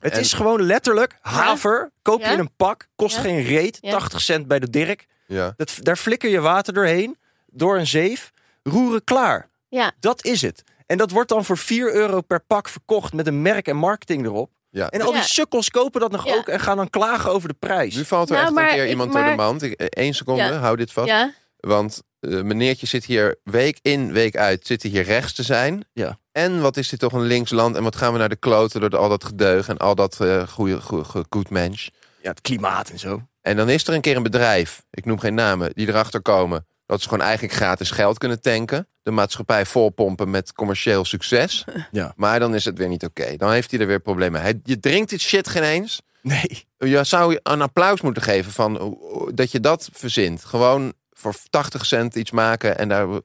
S3: Het
S2: En-
S3: is gewoon letterlijk haver. Koop je
S4: Ja?
S3: in een pak, kost
S4: Ja?
S3: geen reet.
S4: Ja.
S3: 80 cent bij de Dirk.
S2: Ja.
S3: Dat, daar flikker je water doorheen, door een zeef, roeren klaar.
S4: Ja.
S3: Dat is het. En dat wordt dan voor 4 euro per pak verkocht met een merk en marketing erop.
S2: Ja.
S3: En al die
S4: Ja.
S3: sukkels kopen dat nog
S4: Ja.
S3: ook en gaan dan klagen over de prijs.
S2: Nu valt er
S4: Nou,
S2: echt een
S4: maar
S2: keer
S4: ik-
S2: iemand door
S4: maar-
S2: de mand. Ik- eh, Eén seconde,
S4: Ja.
S2: hou dit vast.
S4: Ja,
S2: Want eh, meneertje zit hier week in, week uit, zit hij hier rechts te zijn.
S3: Ja.
S2: En wat is dit toch een linksland? En wat gaan we naar de kloten door al dat gedeug en al dat eh goede, goede, goed mens.
S3: Ja, het klimaat en zo.
S2: En dan is er een keer een bedrijf, ik noem geen namen, die erachter komen dat ze gewoon eigenlijk gratis geld kunnen tanken. De maatschappij volpompen met commercieel succes.
S3: Ja.
S2: Maar dan is het weer niet oké. Dan heeft hij er weer problemen. Hij, je drinkt dit shit geen eens.
S3: Nee.
S2: Je zou je een applaus moeten geven van eh, dat je dat verzint. Gewoon voor 80 cent iets maken en daar eh,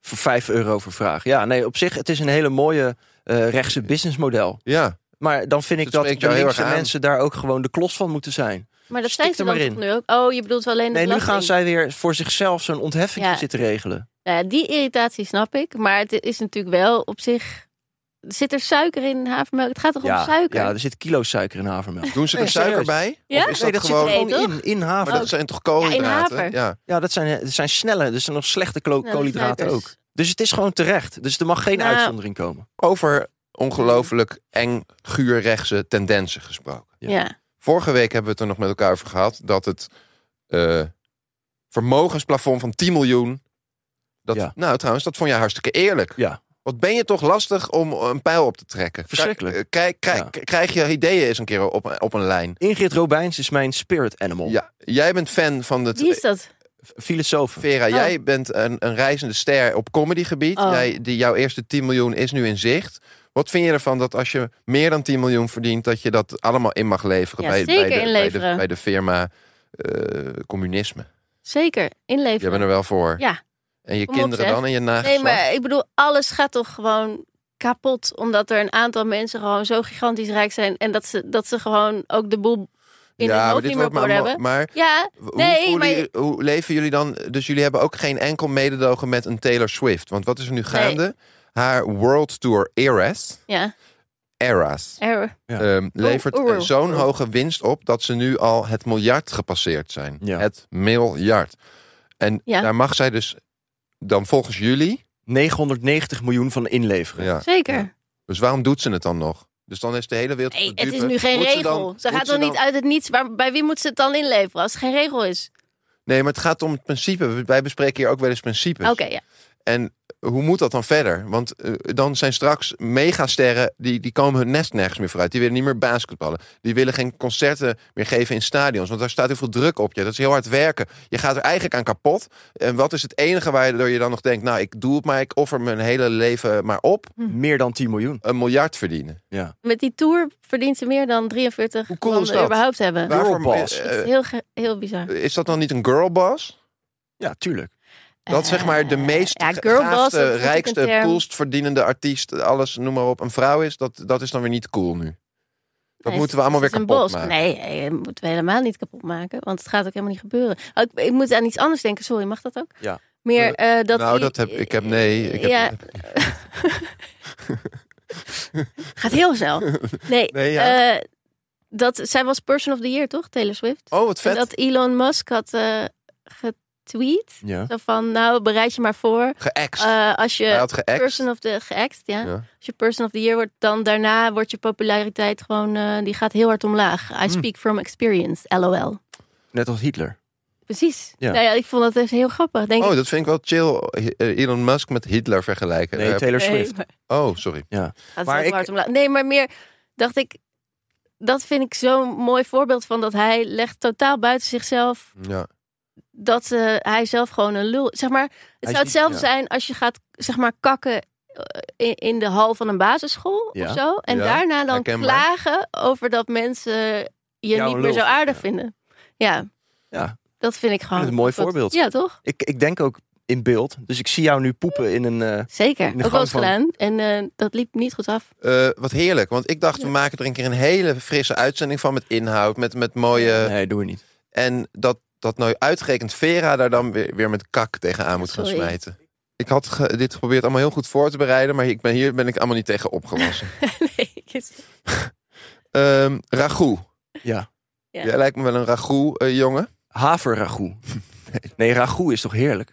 S3: Voor 5 euro voor vraag. Ja, nee, op zich, het is een hele mooie eh, rechtse businessmodel.
S2: Ja,
S3: Maar dan vind ik
S2: Dus Dat
S3: dat,
S2: spreekt
S3: de
S2: jou heel
S3: linkse
S2: erg aan.
S3: mensen daar ook gewoon de klos van moeten zijn.
S4: maar dat
S3: Stik
S4: zijn
S3: er
S4: ze
S3: maar
S4: dan
S3: in.
S4: toch nu ook. Oh, je bedoelt alleen de
S3: Nee, nu
S4: belasting.
S3: gaan zij weer voor zichzelf zo'n ontheffing
S4: Ja.
S3: zitten regelen.
S4: Nou ja, die irritatie snap ik, maar het is natuurlijk wel op zich... Zit er suiker in havermelk? Het gaat toch om suiker?
S3: ja, er zit kilo suiker in havermelk.
S2: doen ze
S3: Nee,
S2: er suiker
S3: serieus.
S2: bij?
S4: Ja?
S2: Of is
S3: nee,
S2: dat,
S3: dat
S2: gewoon...
S4: Nee,
S3: zit er gewoon in, in haver.
S2: maar
S4: Oh.
S2: dat zijn toch koolhydraten?
S4: Ja, in haver.
S2: Ja.
S3: Ja, dat zijn, eh, dat zijn snelle, dat zijn nog slechte klo-
S4: Snelle
S3: koolhydraten
S4: Nou, suikers.
S3: ook. Dus het is gewoon terecht. Dus er mag geen
S4: Nou.
S3: uitzondering komen.
S2: Over ongelooflijk eng guurrechtse tendensen gesproken.
S3: Ja.
S4: Ja.
S2: Vorige week hebben we het er nog met elkaar over gehad... dat het eh, vermogensplafond van 10 miljoen... Dat,
S3: Ja.
S2: Nou, trouwens, dat vond jij hartstikke eerlijk.
S3: Ja.
S2: Wat ben je toch lastig om eh, een pijl op te trekken.
S3: Verschrikkelijk.
S2: Kijk, Krijg, krijg, krijg je ideeën eens een keer op, op een lijn.
S3: Ingrid Robijns is mijn spirit animal.
S2: Ja, jij bent fan van het
S4: Wie is dat?
S3: F- Filosoof.
S2: Vera,
S4: Oh.
S2: jij bent een, een reizende ster op comedygebied.
S4: Oh.
S2: Jij, die, jouw eerste 10 miljoen is nu in zicht. Wat vind je ervan dat als je meer dan 10 miljoen verdient... dat je dat allemaal in mag leveren
S4: Ja,
S2: bij,
S4: zeker
S2: bij, de, bij, de,
S4: inleveren.
S2: bij de firma eh, communisme?
S4: Zeker,
S2: Je
S4: inleveren.
S2: bent er wel voor.
S4: Ja.
S2: En je
S4: Kom op,
S2: kinderen
S4: zeg.
S2: dan en je
S4: Nee,
S2: nageslacht?
S4: maar ik bedoel, alles gaat toch gewoon kapot. Omdat er een aantal mensen gewoon zo gigantisch rijk zijn. En dat ze, dat ze gewoon ook de boel in
S2: ja,
S4: hun
S2: maar
S4: hoofd
S2: dit
S4: niet meer
S2: wordt
S4: op
S2: maar,
S4: orde
S2: mo-
S4: hebben.
S2: maar
S4: Ja,
S2: w- hoe,
S4: Nee,
S2: voelen
S4: maar je-
S2: jullie- hoe leven jullie dan? Dus jullie hebben ook geen enkel mededogen met een Taylor Swift. Want wat is er nu gaande? Haar World Tour Eras.
S4: ja.
S2: Eras.
S4: Er,
S2: ehm, levert
S4: oeh,
S2: eh, zo'n
S4: oeh.
S2: hoge winst op dat ze nu al het miljard gepasseerd zijn.
S3: Ja.
S2: Het miljard. En
S4: Ja.
S2: daar mag zij dus dan volgens jullie.
S3: 990 miljoen van inleveren.
S2: Ja.
S4: zeker.
S3: Ja.
S2: Dus waarom doet ze het dan nog? Dus dan is de hele wereld.
S4: Nee,
S2: op de
S4: het is
S2: dupe.
S4: nu geen
S2: Moet ze dan-
S4: regel. Ze,
S2: moet
S4: gaat toch
S2: dan-
S4: niet uit het niets. Waar, bij wie moet ze het dan inleveren als het geen regel is?
S2: Nee, maar het gaat om het principe. We- Wij bespreken hier ook wel eens principes.
S4: Oké, ja.
S2: En hoe moet dat dan verder? Want eh, dan zijn straks megasterren, die, die komen hun nest nergens meer vooruit. Die willen niet meer basketballen. Die willen geen concerten meer geven in stadions. Want daar staat heel veel druk op je. Dat is heel hard werken. Je gaat er eigenlijk aan kapot. En wat is het enige waardoor je dan nog denkt... nou, ik doe het maar, ik offer mijn hele leven maar op.
S4: Hm.
S3: Meer dan 10 miljoen.
S2: Een miljard verdienen.
S4: Met die tour verdient ze meer dan 43
S2: Hoe cool is
S4: landen
S2: dat?
S4: überhaupt hebben.
S3: Waar-
S2: Girlboss.
S4: Het is heel, ge- heel bizar.
S2: eh, is dat dan niet een girlboss?
S3: Ja, tuurlijk.
S2: Dat zeg maar de
S4: Eh,
S2: meest
S4: ja, girlboss, dat is
S2: gaafste,
S4: natuurlijk een
S2: rijkste,
S4: term.
S2: coolst verdienende artiest... alles, noem maar op, een vrouw is. Dat, dat is dan weer niet cool nu. Dat
S4: Nee,
S2: moeten we allemaal
S4: het
S2: weer
S4: is een
S2: kapot
S4: bos.
S2: maken.
S4: Nee, nee, dat moeten we helemaal niet kapot maken. Want het gaat ook helemaal niet gebeuren. Oh, ik, ik moet aan iets anders denken. Sorry, mag dat ook?
S3: Ja.
S4: Meer eh, dat...
S2: nou,
S4: die-
S2: dat heb ik heb nee. Ik heb,
S4: ja. gaat heel snel. Nee,
S2: Nee, ja.
S4: eh, dat, zij was person of the year, toch? Taylor Swift.
S2: Oh, wat
S4: En
S2: vet.
S4: dat Elon Musk had eh, tweet.
S2: Ja.
S4: Zo van, nou, bereid je maar voor.
S2: Geëxt.
S4: Eh, als
S2: Hij
S4: je
S2: had geëxt.
S4: person of the geëxt, ja.
S2: Ja.
S4: Als je person of the year wordt, dan daarna wordt je populariteit gewoon, eh, die gaat heel hard omlaag.
S3: Hmm.
S4: I speak from experience, lol.
S3: Net als Hitler.
S4: Precies.
S3: Ja.
S4: Nou ja, ik vond dat echt heel grappig. Denk
S2: Oh,
S4: ik,
S2: dat vind ik wel chill. eh, Elon Musk met Hitler vergelijken.
S3: Nee,
S2: Eh,
S3: Taylor
S4: nee,
S3: Swift.
S4: maar
S2: oh, sorry.
S4: gaat
S3: Maar
S4: het
S3: ik-
S4: heel hard omlaag. Nee, maar meer dacht ik, dat vind ik zo'n mooi voorbeeld van dat hij legt totaal buiten zichzelf
S2: Ja.
S4: dat eh, hij zelf gewoon een lul. Zeg maar, het
S3: is
S4: zou
S3: niet-
S4: hetzelfde
S3: ja.
S4: zijn als je gaat zeg maar kakken eh, in, in de hal van een basisschool
S3: Ja.
S4: of zo. En
S2: Ja,
S4: daarna dan
S2: herkenbaar.
S4: klagen over dat mensen je
S3: een
S4: niet meer
S3: lul
S4: zo aardig
S3: vinden,
S4: vinden. Ja.
S3: Ja.
S4: Dat vind ik gewoon.
S3: Dat is een mooi
S4: dat-
S3: voorbeeld.
S4: Ja, toch?
S3: Ik, ik denk ook in beeld. Dus ik zie jou nu poepen in een... eh,
S4: Zeker.
S3: In de
S4: Ook wel
S3: gang
S4: eens
S3: van-
S4: gedaan. En eh, dat liep niet goed af.
S2: Eh, wat heerlijk, want ik dacht, we maken er een keer een hele frisse uitzending van met inhoud, met, met mooie.
S3: Nee, doe je niet.
S2: En dat, dat nou uitgerekend Vera daar dan weer, weer met kak tegenaan moet gaan
S4: Sorry.
S2: smijten. Ik had ge- dit geprobeerd allemaal heel goed voor te bereiden, maar ik ben, hier ben ik allemaal niet tegen opgewassen.
S4: nee, ik is-
S2: Ehm ragout.
S3: Ja.
S4: Ja.
S2: Jij lijkt me wel een ragout, eh, jongen.
S3: Haverragout. Nee, ragout is toch heerlijk?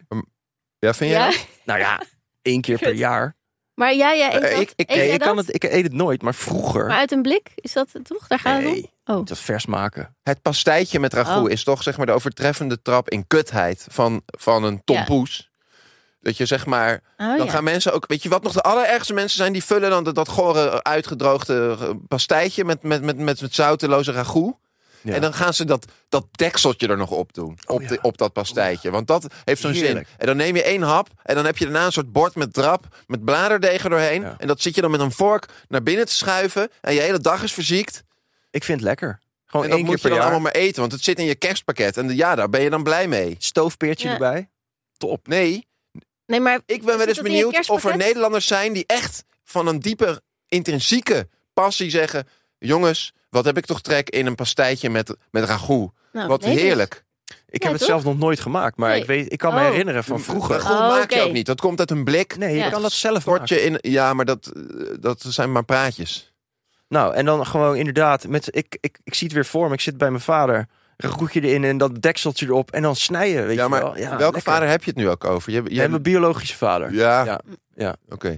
S2: Ja, vind jij?
S4: ja?
S2: dat?
S3: Nou ja, één keer per
S4: Kut.
S3: jaar.
S4: Maar jij, jij eet
S2: Eh,
S4: dat?
S2: ik- ik-
S4: Eet
S3: Nee,
S4: jij
S3: ik, kan
S4: dat?
S3: het, ik eet het nooit, maar vroeger...
S4: Maar uit een blik is dat het toch? Daar gaat het om.
S3: nee,
S4: Oh.
S3: dat vers maken.
S2: Het pastijtje met ragout
S4: Oh.
S2: is toch zeg maar de overtreffende trap in kutheid van, van een
S4: Ja.
S2: tompoes. Dat je zeg maar
S4: Oh,
S2: dan
S4: ja.
S2: gaan mensen ook, weet je wat nog de allerergste mensen zijn? Die vullen dan dat, dat gore uitgedroogde eh, pastijtje met, met, met, met, met zouteloze ragout.
S3: Ja. Oh,
S2: En dan gaan ze dat, dat dekseltje er nog op doen. Op,
S3: ja.
S2: de- op dat pastijtje. Want dat heeft zo'n zin.
S3: Heerlijk.
S2: En dan neem je één hap. En dan heb je daarna een soort bord met drap. Met bladerdeeg er doorheen.
S3: Ja.
S2: En dat zit je dan met een vork naar binnen te schuiven. En je hele dag is verziekt.
S3: Ik vind het lekker. Gewoon
S2: en dat
S3: Oh, één keer
S2: moet je
S3: per
S2: dan
S3: jaar.
S2: allemaal maar eten. Want het zit in je kerstpakket. En ja, daar ben je dan blij mee.
S3: Stoofpeertje
S4: Ja.
S3: erbij.
S2: Nee,
S4: Nee, maar
S2: Ik ben wel
S4: Zit
S2: eens
S4: dat in je
S2: benieuwd of er
S4: kerstpakket?
S2: Nederlanders zijn die echt van een diepe, intrinsieke passie zeggen: Jongens, wat heb ik toch trek in een pastijtje met, met ragout?
S4: nou,
S2: wat
S4: nee, dus.
S2: heerlijk.
S3: Ik
S4: Ja,
S3: heb het
S4: toch?
S3: zelf nog nooit gemaakt, maar
S4: Nee.
S3: ik, weet, ik kan me
S4: Oh.
S3: herinneren van vroeger.
S2: Ragout
S4: Oh,
S2: maak je
S4: oké.
S2: ook niet. Dat komt uit een blik.
S3: Mm, Nee,
S4: Ja.
S3: je kan dat zelf
S2: Stort
S3: maken.
S2: je in, ja, maar dat, eh, dat zijn maar praatjes.
S3: Nou, en dan gewoon inderdaad, met, ik, ik, ik zie het weer voor me. Ik zit bij mijn vader. Ragoutje erin en dat dekseltje erop. En dan snijden, weet
S2: Ja,
S3: je
S2: maar
S3: wel. Ja,
S2: welke
S3: lekker.
S2: vader heb je het nu ook over? Je, je,
S3: En mijn biologische vader.
S2: ja,
S3: Ja. Ja.
S2: oké.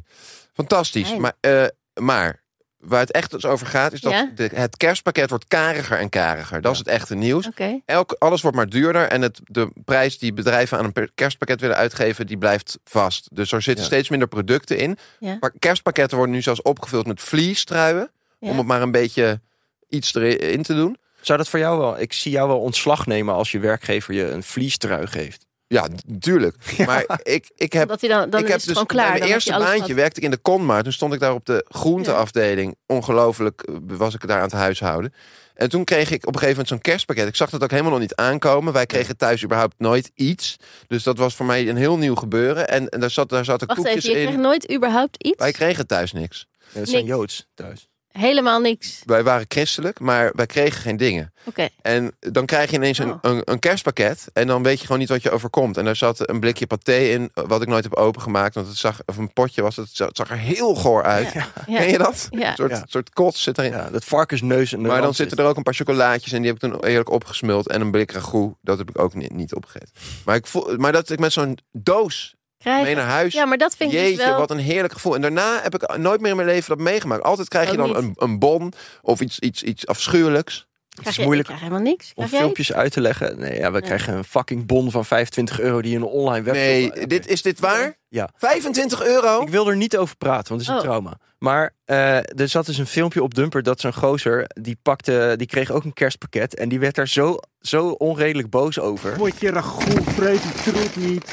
S2: Fantastisch.
S4: Fijn.
S2: Maar, eh, maar waar het echt dus over gaat, is dat
S4: Ja?
S2: de- het kerstpakket wordt kariger en kariger. Dat is het echte nieuws.
S4: Oké.
S2: elk, alles wordt maar duurder. En het, de prijs die bedrijven aan een per- kerstpakket willen uitgeven, die blijft vast. Dus er zitten
S3: Ja.
S2: steeds minder producten in.
S4: Ja.
S2: Maar kerstpakketten worden nu zelfs opgevuld met vliestruien.
S4: Ja.
S2: Om het maar een beetje iets erin te doen.
S3: Zou dat voor jou wel? Ik zie jou wel ontslag nemen als je werkgever je een vliestrui geeft.
S2: Ja, natuurlijk. Maar ik, ik heb
S4: Omdat hij dan, dan
S2: ik
S4: is
S2: heb
S4: het
S2: dus
S4: gewoon klaar.
S2: bij mijn
S4: dan
S2: eerste
S4: heb je alles
S2: baantje werkte ik in de Konmaar. Toen stond ik daar op de groenteafdeling. Ongelooflijk eh, was ik daar aan het huishouden. En toen kreeg ik op een gegeven moment zo'n kerstpakket. Ik zag dat ook helemaal nog niet aankomen. Wij kregen thuis überhaupt nooit iets. Dus dat was voor mij een heel nieuw gebeuren. En, en daar, zat, daar zaten
S4: gehad. Wacht
S2: koekjes
S4: even, je
S2: in.
S4: kreeg nooit überhaupt iets?
S2: Wij kregen thuis niks.
S3: Ja, dat zijn
S4: Niks.
S3: Joods thuis.
S4: Helemaal niks.
S2: Wij waren christelijk, maar wij kregen geen dingen.
S4: Oké.
S2: En dan krijg je ineens een,
S4: Oh.
S2: een, een kerstpakket. En dan weet je gewoon niet wat je overkomt. En daar zat een blikje paté in, wat ik nooit heb opengemaakt. Want het zag, of een potje was het, het zag er heel goor uit.
S4: Ja.
S2: Ken je dat?
S4: Ja.
S2: Een soort,
S3: Ja.
S2: soort kots zit erin.
S3: Ja, dat varkensneus en
S2: maar dan zitten er ook een paar chocolaatjes in. Die heb ik toen eerlijk opgesmuld. En een blik ragout. Dat heb ik ook niet, niet opgegeten. Maar, ik voel, maar dat ik met zo'n doos
S4: Krijg...
S2: mee naar huis...
S4: Ja, maar dat vind ik
S2: Jeetje,
S4: dus wel...
S2: wat een heerlijk gevoel. En daarna heb ik nooit meer in mijn leven dat meegemaakt. Altijd krijg je
S4: Ook
S2: dan
S4: niet.
S2: een, een bon of iets, iets, iets afschuwelijks.
S4: krijg
S3: is
S4: je- ik
S3: moeilijk
S4: krijg helemaal niks.
S3: om
S4: Krijg jij iets?
S3: filmpjes uit te leggen. Nee, ja, we krijgen een fucking bon van 25 euro die je in een online webshop...
S2: Nee,
S3: Oké.
S2: dit, is dit waar?
S3: Ja.
S2: 25 euro?
S3: Ik wil er niet over praten, want het is een
S4: Oh.
S3: trauma. Maar eh, er zat dus een filmpje op Dumper dat zo'n gozer... die pakte, die kreeg ook een kerstpakket... en die werd daar zo, zo onredelijk boos over.
S5: Word je ragout, vreet die troep niet.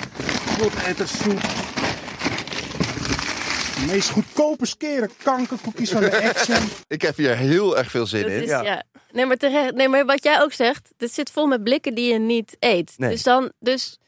S5: Potettersoep.
S1: De meest goedkope skere kankerkoekjes van de Action.
S2: Ik heb hier heel erg veel zin
S4: Dat
S2: in.
S4: is,
S3: Ja.
S4: ja. Nee, maar terecht. Nee, maar wat jij ook zegt, dit zit vol met blikken die je niet eet.
S3: Nee.
S4: Dus dan, dus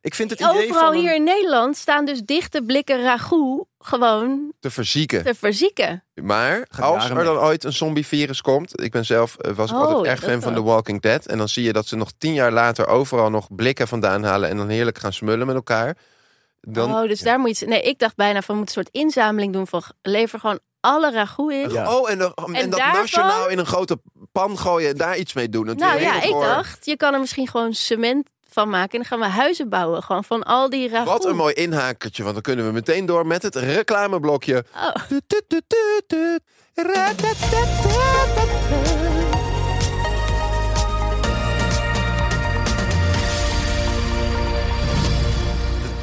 S3: Ik vind het idee
S4: overal
S3: van... een-
S4: hier in Nederland staan dus dichte blikken ragout gewoon
S2: Te verzieken.
S4: te verzieken.
S2: Maar
S3: Gaat
S2: als
S3: jaren
S2: er
S3: mee.
S2: dan ooit een zombievirus komt, ik ben zelf eh, was ik
S4: Oh,
S2: altijd
S4: ja,
S2: erg
S4: dat
S2: fan van The
S4: wel.
S2: Walking Dead, en dan zie je dat ze nog tien jaar later overal nog blikken vandaan halen en dan heerlijk gaan smullen met elkaar. Dan
S4: oh, dus daar moet je. Nee, ik dacht bijna van moet een soort inzameling doen van lever gewoon alle ragout in.
S3: Ja.
S2: oh en, dan- en
S4: En
S2: dat
S4: daarvan-
S2: nationaal in een grote pan gooien en daar iets mee doen. Dat
S4: Nou
S2: weer
S4: ja,
S2: heel
S4: ik
S2: goor.
S4: dacht, je kan er misschien gewoon cement van maken. En dan gaan we huizen bouwen. Gewoon van al die ragout.
S2: Wat een mooi inhakertje, want dan kunnen we meteen door met het reclameblokje.
S4: Oh.
S2: Tututututu. Ratatatatata.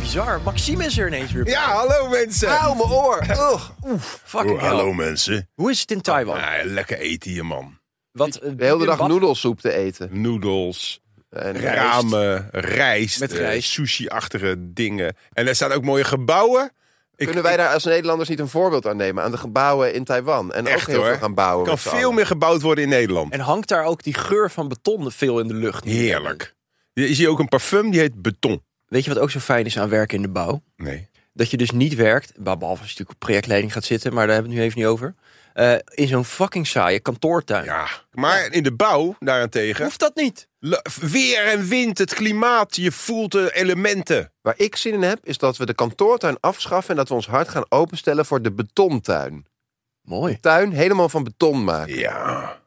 S3: Bizar. Maxime is er ineens weer. bij.
S2: Ja, hallo mensen. Hou mijn oor. Ugh.
S3: Fucking hell.
S1: hallo mensen.
S3: Hoe is het in Taiwan?
S1: Ah, lekker eten hier, man.
S3: Wat, eh,
S2: De hele dag
S3: bibimbap?
S2: noedelsoep te eten.
S1: Noedels,
S2: En eh,
S1: ramen, rijst,
S3: Met
S1: eh,
S3: rijst.
S1: sushi-achtige dingen. En er staan ook mooie gebouwen. Ik,
S2: Kunnen wij daar als Nederlanders niet een voorbeeld aan nemen? Aan de gebouwen in Taiwan. En
S1: Echt,
S2: ook heel
S1: hoor.
S2: veel gaan bouwen.
S1: ik kan
S2: met z'n
S1: veel
S2: allen.
S1: meer gebouwd worden in Nederland.
S3: En hangt daar ook die geur van beton veel in de lucht?
S1: Heerlijk. Je ziet ook een parfum, die heet Beton.
S3: Weet je wat ook zo fijn is aan werken in de bouw?
S1: Nee.
S3: Dat je dus niet werkt, bah, behalve als je natuurlijk op projectleiding gaat zitten, maar daar hebben we het nu even niet over. eh, in zo'n fucking saaie kantoortuin.
S1: Ja. Maar in de bouw, daarentegen,
S3: Hoeft dat niet?
S1: le- weer en wind, het klimaat, je voelt de elementen.
S2: Waar ik zin in heb, is dat we de kantoortuin afschaffen... en dat we ons hart gaan openstellen voor de betontuin.
S3: Mooi.
S2: Tuin helemaal van beton maken.
S1: Ja,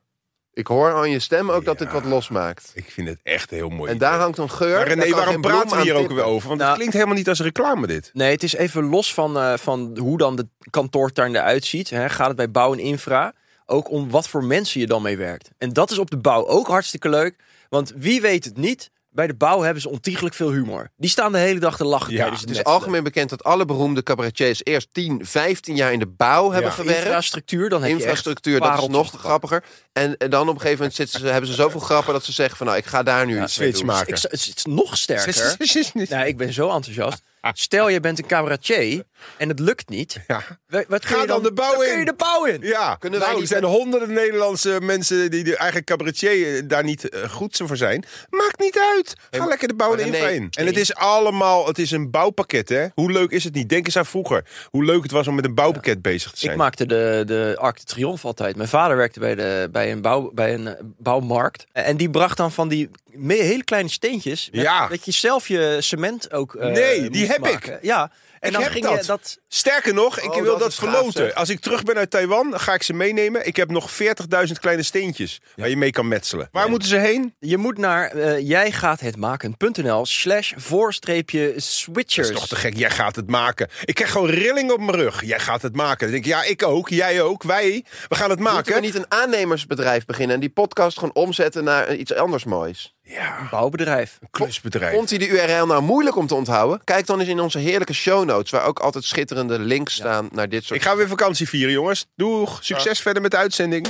S2: Ik hoor aan je stem ook dat
S1: Ja.
S2: dit wat losmaakt.
S1: ik vind het echt heel mooi.
S2: En daar hangt een geur.
S1: maar
S2: daar
S1: René,
S2: kan
S1: waarom
S2: geen bloem
S1: praten we
S2: aan
S1: hier ook
S2: tippen.
S1: weer over? Want
S3: Nou-
S1: het klinkt helemaal niet als reclame, dit.
S3: Nee, het is even los van, eh, van hoe dan de kantoortuin eruit ziet. Hè, gaat het bij bouw en infra ook om wat voor mensen je dan mee werkt. En dat is op de bouw ook hartstikke leuk. Want wie weet het niet, bij de bouw hebben ze ontiegelijk veel humor. Die staan de hele dag te lachen.
S1: Ja,
S3: tijdens dus
S2: Het is
S3: metselen.
S2: algemeen bekend dat alle beroemde cabaretiers... eerst 10, 15 jaar in de bouw hebben gewerkt.
S3: Nou, Infrastructuur, dan heb je echt
S2: infrastructuur, dat is
S3: pareltjes
S2: nog
S3: te pakken.
S2: grappiger. En, en dan op een gegeven moment zitten ze, hebben ze zoveel grappen dat ze zeggen van nou, ik ga daar nu iets mee
S1: switch
S2: doen.
S1: maken.
S3: Ik, zou- het is- het is nog sterker.
S1: Ja.
S3: Nou, ik ben zo enthousiast. Stel, je bent een cabaretier en het lukt niet. Wa- Wat kun
S1: Ga
S3: je
S1: dan de bouw
S3: kun
S1: in.
S3: je de bouw in.
S1: Ja,
S2: Kunnen
S1: nou,
S2: wij
S1: er
S2: niet-
S1: zijn honderden Nederlandse mensen die de eigen cabaretier eh, daar niet eh, goed voor zijn. Maakt niet uit. Ga
S2: maar-
S1: lekker de bouw en
S2: maar
S1: infra
S2: nee,
S1: in. En
S2: nee.
S1: het is allemaal, het is een bouwpakket hè. Hoe leuk is het niet? Denk eens aan vroeger. Hoe leuk het was om met een bouwpakket bezig te zijn.
S3: Ik maakte de, de Arc de Triomphe altijd. Mijn vader werkte bij, de, bij, een bouw, bij een eh, bouwmarkt. En die bracht dan van die me- hele kleine steentjes. met-
S1: Ja.
S3: Dat je zelf je cement ook. eh,
S1: Nee, die
S3: moest
S1: heb
S3: maken. Ja. En
S1: Ik
S3: dan
S1: heb
S3: ging
S1: dat.
S3: je dat.
S1: Sterker nog, ik
S2: Oh,
S1: wil
S2: dat
S1: dat,
S2: is gaaf,
S1: verloten.
S2: zeg.
S1: Als ik terug ben uit Taiwan, ga ik ze meenemen. Ik heb nog 40.000 kleine steentjes waar je mee kan metselen. Waar moeten ze heen?
S3: Je moet naar eh, jijgaathetmaken.nl/slash voorstreepje switchers.
S1: Dat is toch te gek. Jij gaat het maken. Ik krijg gewoon rilling op mijn rug. Jij gaat het maken. Dan denk ik, ja, ik ook. Jij ook. Wij. We gaan het
S2: Moeten we
S1: maken.
S2: niet een aannemersbedrijf beginnen en die podcast gewoon omzetten naar iets anders moois?
S1: Ja,
S3: bouwbedrijf.
S1: klusbedrijf.
S2: Vond hij de URL nou moeilijk om te onthouden? Kijk dan eens in onze heerlijke show notes, waar ook altijd schitterende links staan naar dit soort...
S1: Ik ga weer vakantie vieren, jongens. Doeg. Succes verder met de uitzending.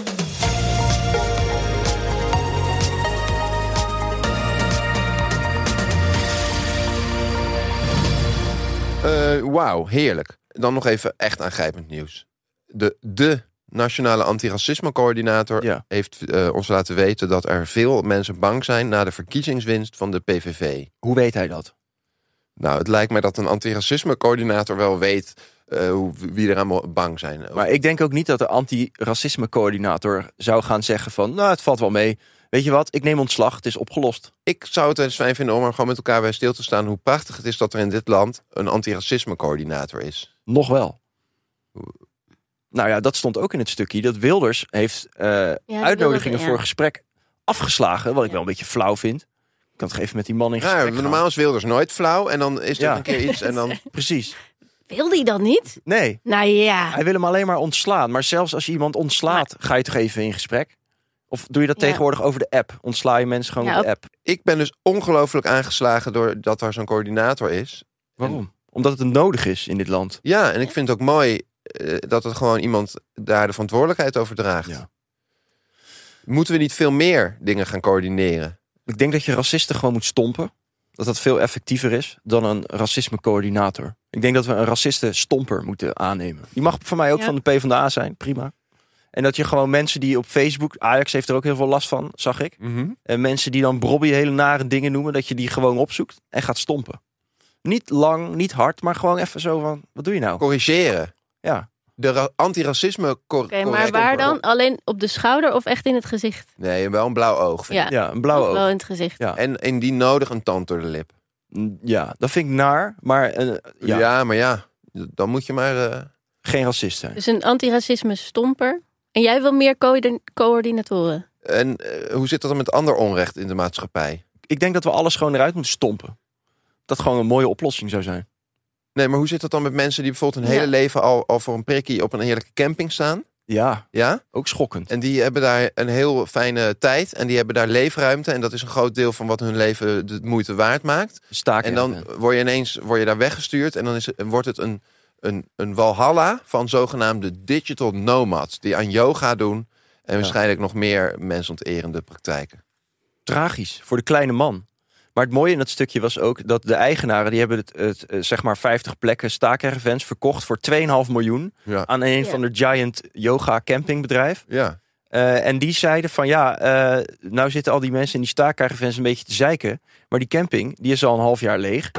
S2: Eh, Wauw, heerlijk. Dan nog even echt aangrijpend nieuws. De, de nationale antiracismecoördinator
S3: Ja.
S2: heeft eh, ons laten weten dat er veel mensen bang zijn na de verkiezingswinst van de PVV.
S3: Hoe weet hij dat?
S2: Nou, het lijkt mij dat een antiracismecoördinator wel weet eh, hoe- wie er aan mo- bang zijn.
S3: Maar ik denk ook niet dat de anti-racisme-coördinator zou gaan zeggen van... nou, het valt wel mee. Weet je wat, ik neem ontslag, het is opgelost.
S2: ik zou het eens fijn vinden om er gewoon met elkaar bij stil te staan... hoe prachtig het is dat er in dit land een antiracismecoördinator is.
S3: Nog wel. Nou ja, dat stond ook in het stukje. Dat Wilders heeft eh,
S4: die
S3: uitnodigingen
S4: Wilders, ja.
S3: voor gesprek afgeslagen. Wat ik
S4: Ja.
S3: wel een beetje flauw vind. Ik kan toch even met die man in gesprek
S2: Raar,
S3: gaan.
S2: Nou, normaal is Wilders nooit flauw en dan is er
S3: Ja.
S2: een keer iets en dan...
S3: Precies.
S4: Wil die dat niet?
S3: Nee,
S4: Nou ja.
S3: hij wil hem alleen maar ontslaan. Maar zelfs als je iemand ontslaat, ga je toch even in gesprek? Of doe je dat
S4: Ja.
S3: tegenwoordig over de app? Ontsla je mensen gewoon
S4: Ja,
S3: met de app?
S2: Ik ben dus ongelooflijk aangeslagen door dat er zo'n coördinator is.
S3: Waarom? Omdat het nodig is in dit land.
S2: Ja, en ik vind het ook mooi eh, dat het gewoon iemand daar de verantwoordelijkheid over draagt.
S3: Ja.
S2: Moeten we niet veel meer dingen gaan coördineren?
S3: Ik denk dat je racisten gewoon moet stompen. Dat dat veel effectiever is dan een racismecoördinator. Ik denk dat we een racisten-stomper moeten aannemen. Die mag voor mij ook
S4: Ja.
S3: van de PvdA zijn, prima. En dat je gewoon mensen die op Facebook... Ajax heeft er ook heel veel last van, zag ik. En Eh, mensen die dan Brobby hele nare dingen noemen... dat je die gewoon opzoekt en gaat stompen. Niet lang, niet hard, maar gewoon even zo van... Wat doe je nou?
S2: corrigeren.
S3: Ja.
S2: De ra- antiracisme cor-
S4: Oké, maar waar dan? Alleen op de schouder of echt in het gezicht?
S2: Nee, wel een blauw oog. vind
S4: Ja,
S2: ik.
S3: Ja, een blauwe
S4: of
S3: oog.
S4: wel in het gezicht.
S3: Ja.
S2: En indien nodig een tand door de lip.
S3: Mm, Ja, dat vind ik naar, maar eh,
S2: Ja,
S3: ja,
S2: maar ja, dan moet je maar... eh,
S3: geen racist zijn.
S4: Dus een antiracisme stomper. En jij wil meer coördin- coördinatoren?
S2: En eh, hoe zit dat dan met ander onrecht in de maatschappij?
S3: ik denk dat we alles gewoon eruit moeten stompen. Dat gewoon een mooie oplossing zou zijn.
S2: Nee, maar hoe zit dat dan met mensen die bijvoorbeeld hun
S4: Ja.
S2: hele leven al, al voor een prikkie op een heerlijke camping staan?
S3: Ja,
S2: Ja?
S3: ook schokkend.
S2: En die hebben daar een heel fijne tijd. En die hebben daar leefruimte. En dat is een groot deel van wat hun leven de moeite waard maakt.
S3: Staken.
S2: En dan word je ineens word je daar weggestuurd. En dan is, het- wordt het een, een, een walhalla van zogenaamde digital nomads. Die aan yoga doen. En waarschijnlijk nog meer mensonterende praktijken.
S3: tragisch voor de kleine man. Maar het mooie in dat stukje was ook dat de eigenaren... die hebben het, het eh, zeg maar 50 plekken staakervens verkocht voor 2,5 miljoen...
S2: Ja.
S3: aan een
S4: Ja.
S3: van de giant yoga campingbedrijf.
S2: Ja.
S3: Eh, en die zeiden van ja, eh, nou zitten al die mensen in die staakervens een beetje te zeiken... maar die camping, die is al een half jaar leeg.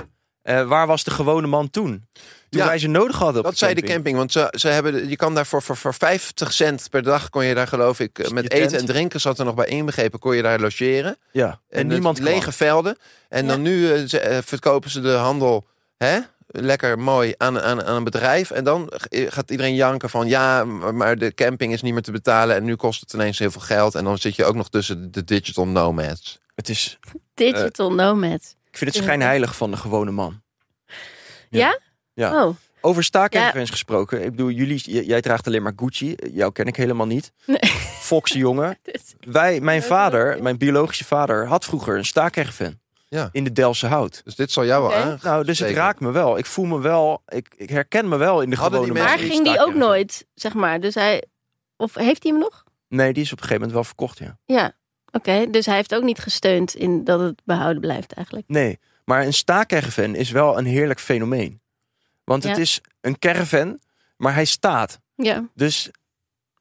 S3: Eh, waar was de gewone man toen? Toen
S2: Ja.
S3: wij ze nodig hadden op
S2: Dat
S3: de
S2: zei de
S3: camping.
S2: camping, want ze, ze hebben, de- je kan daar voor, voor, voor 50 cent per dag, kon je daar geloof ik, eh, met
S3: tent.
S2: eten en drinken, zat er nog bij inbegrepen, kon je daar logeren.
S3: Ja. En,
S2: het
S3: niemand kwam.
S2: lege velden. En dan nu eh, ze- eh, verkopen ze de handel hè? lekker mooi aan, aan, aan een bedrijf. En dan g- eh, gaat iedereen janken van ja, m- maar de camping is niet meer te betalen. En nu kost het ineens heel veel geld. En dan zit je ook nog tussen de digital nomads.
S3: Het is,
S4: Digital nomad.
S3: ik vind het schijnheilig van de gewone man.
S4: Ja?
S3: Ja.
S4: Oh,
S3: Over staakervens gesproken. Ik bedoel, jullie, j- jij draagt alleen maar Gucci. Jou ken ik helemaal niet.
S4: Nee.
S3: Foxy jongen.
S4: dus-
S3: Wij, mijn
S4: Ja,
S3: vader,
S4: ja.
S3: mijn biologische vader, had vroeger een staakerven.
S2: Ja.
S3: In de Delftse hout.
S2: Dus dit zal jou wel
S4: Oké.
S2: aan.
S3: Nou, dus het
S2: Zeker.
S3: raakt me wel. Ik voel me wel, ik, ik herken me wel in de
S2: Hadden die
S3: gewone
S2: mensen
S4: maar
S3: man.
S4: ging die ook
S3: Staakerven.
S4: nooit, zeg maar. Dus hij, of heeft hij hem nog?
S3: Nee, die is op een gegeven moment wel verkocht, ja.
S4: Ja, oké. Dus hij heeft ook niet gesteund in dat het behouden blijft eigenlijk.
S3: Nee, maar een staakerven is wel een heerlijk fenomeen. Want het
S4: Ja.
S3: is een caravan, maar hij staat.
S4: Ja,
S3: Dus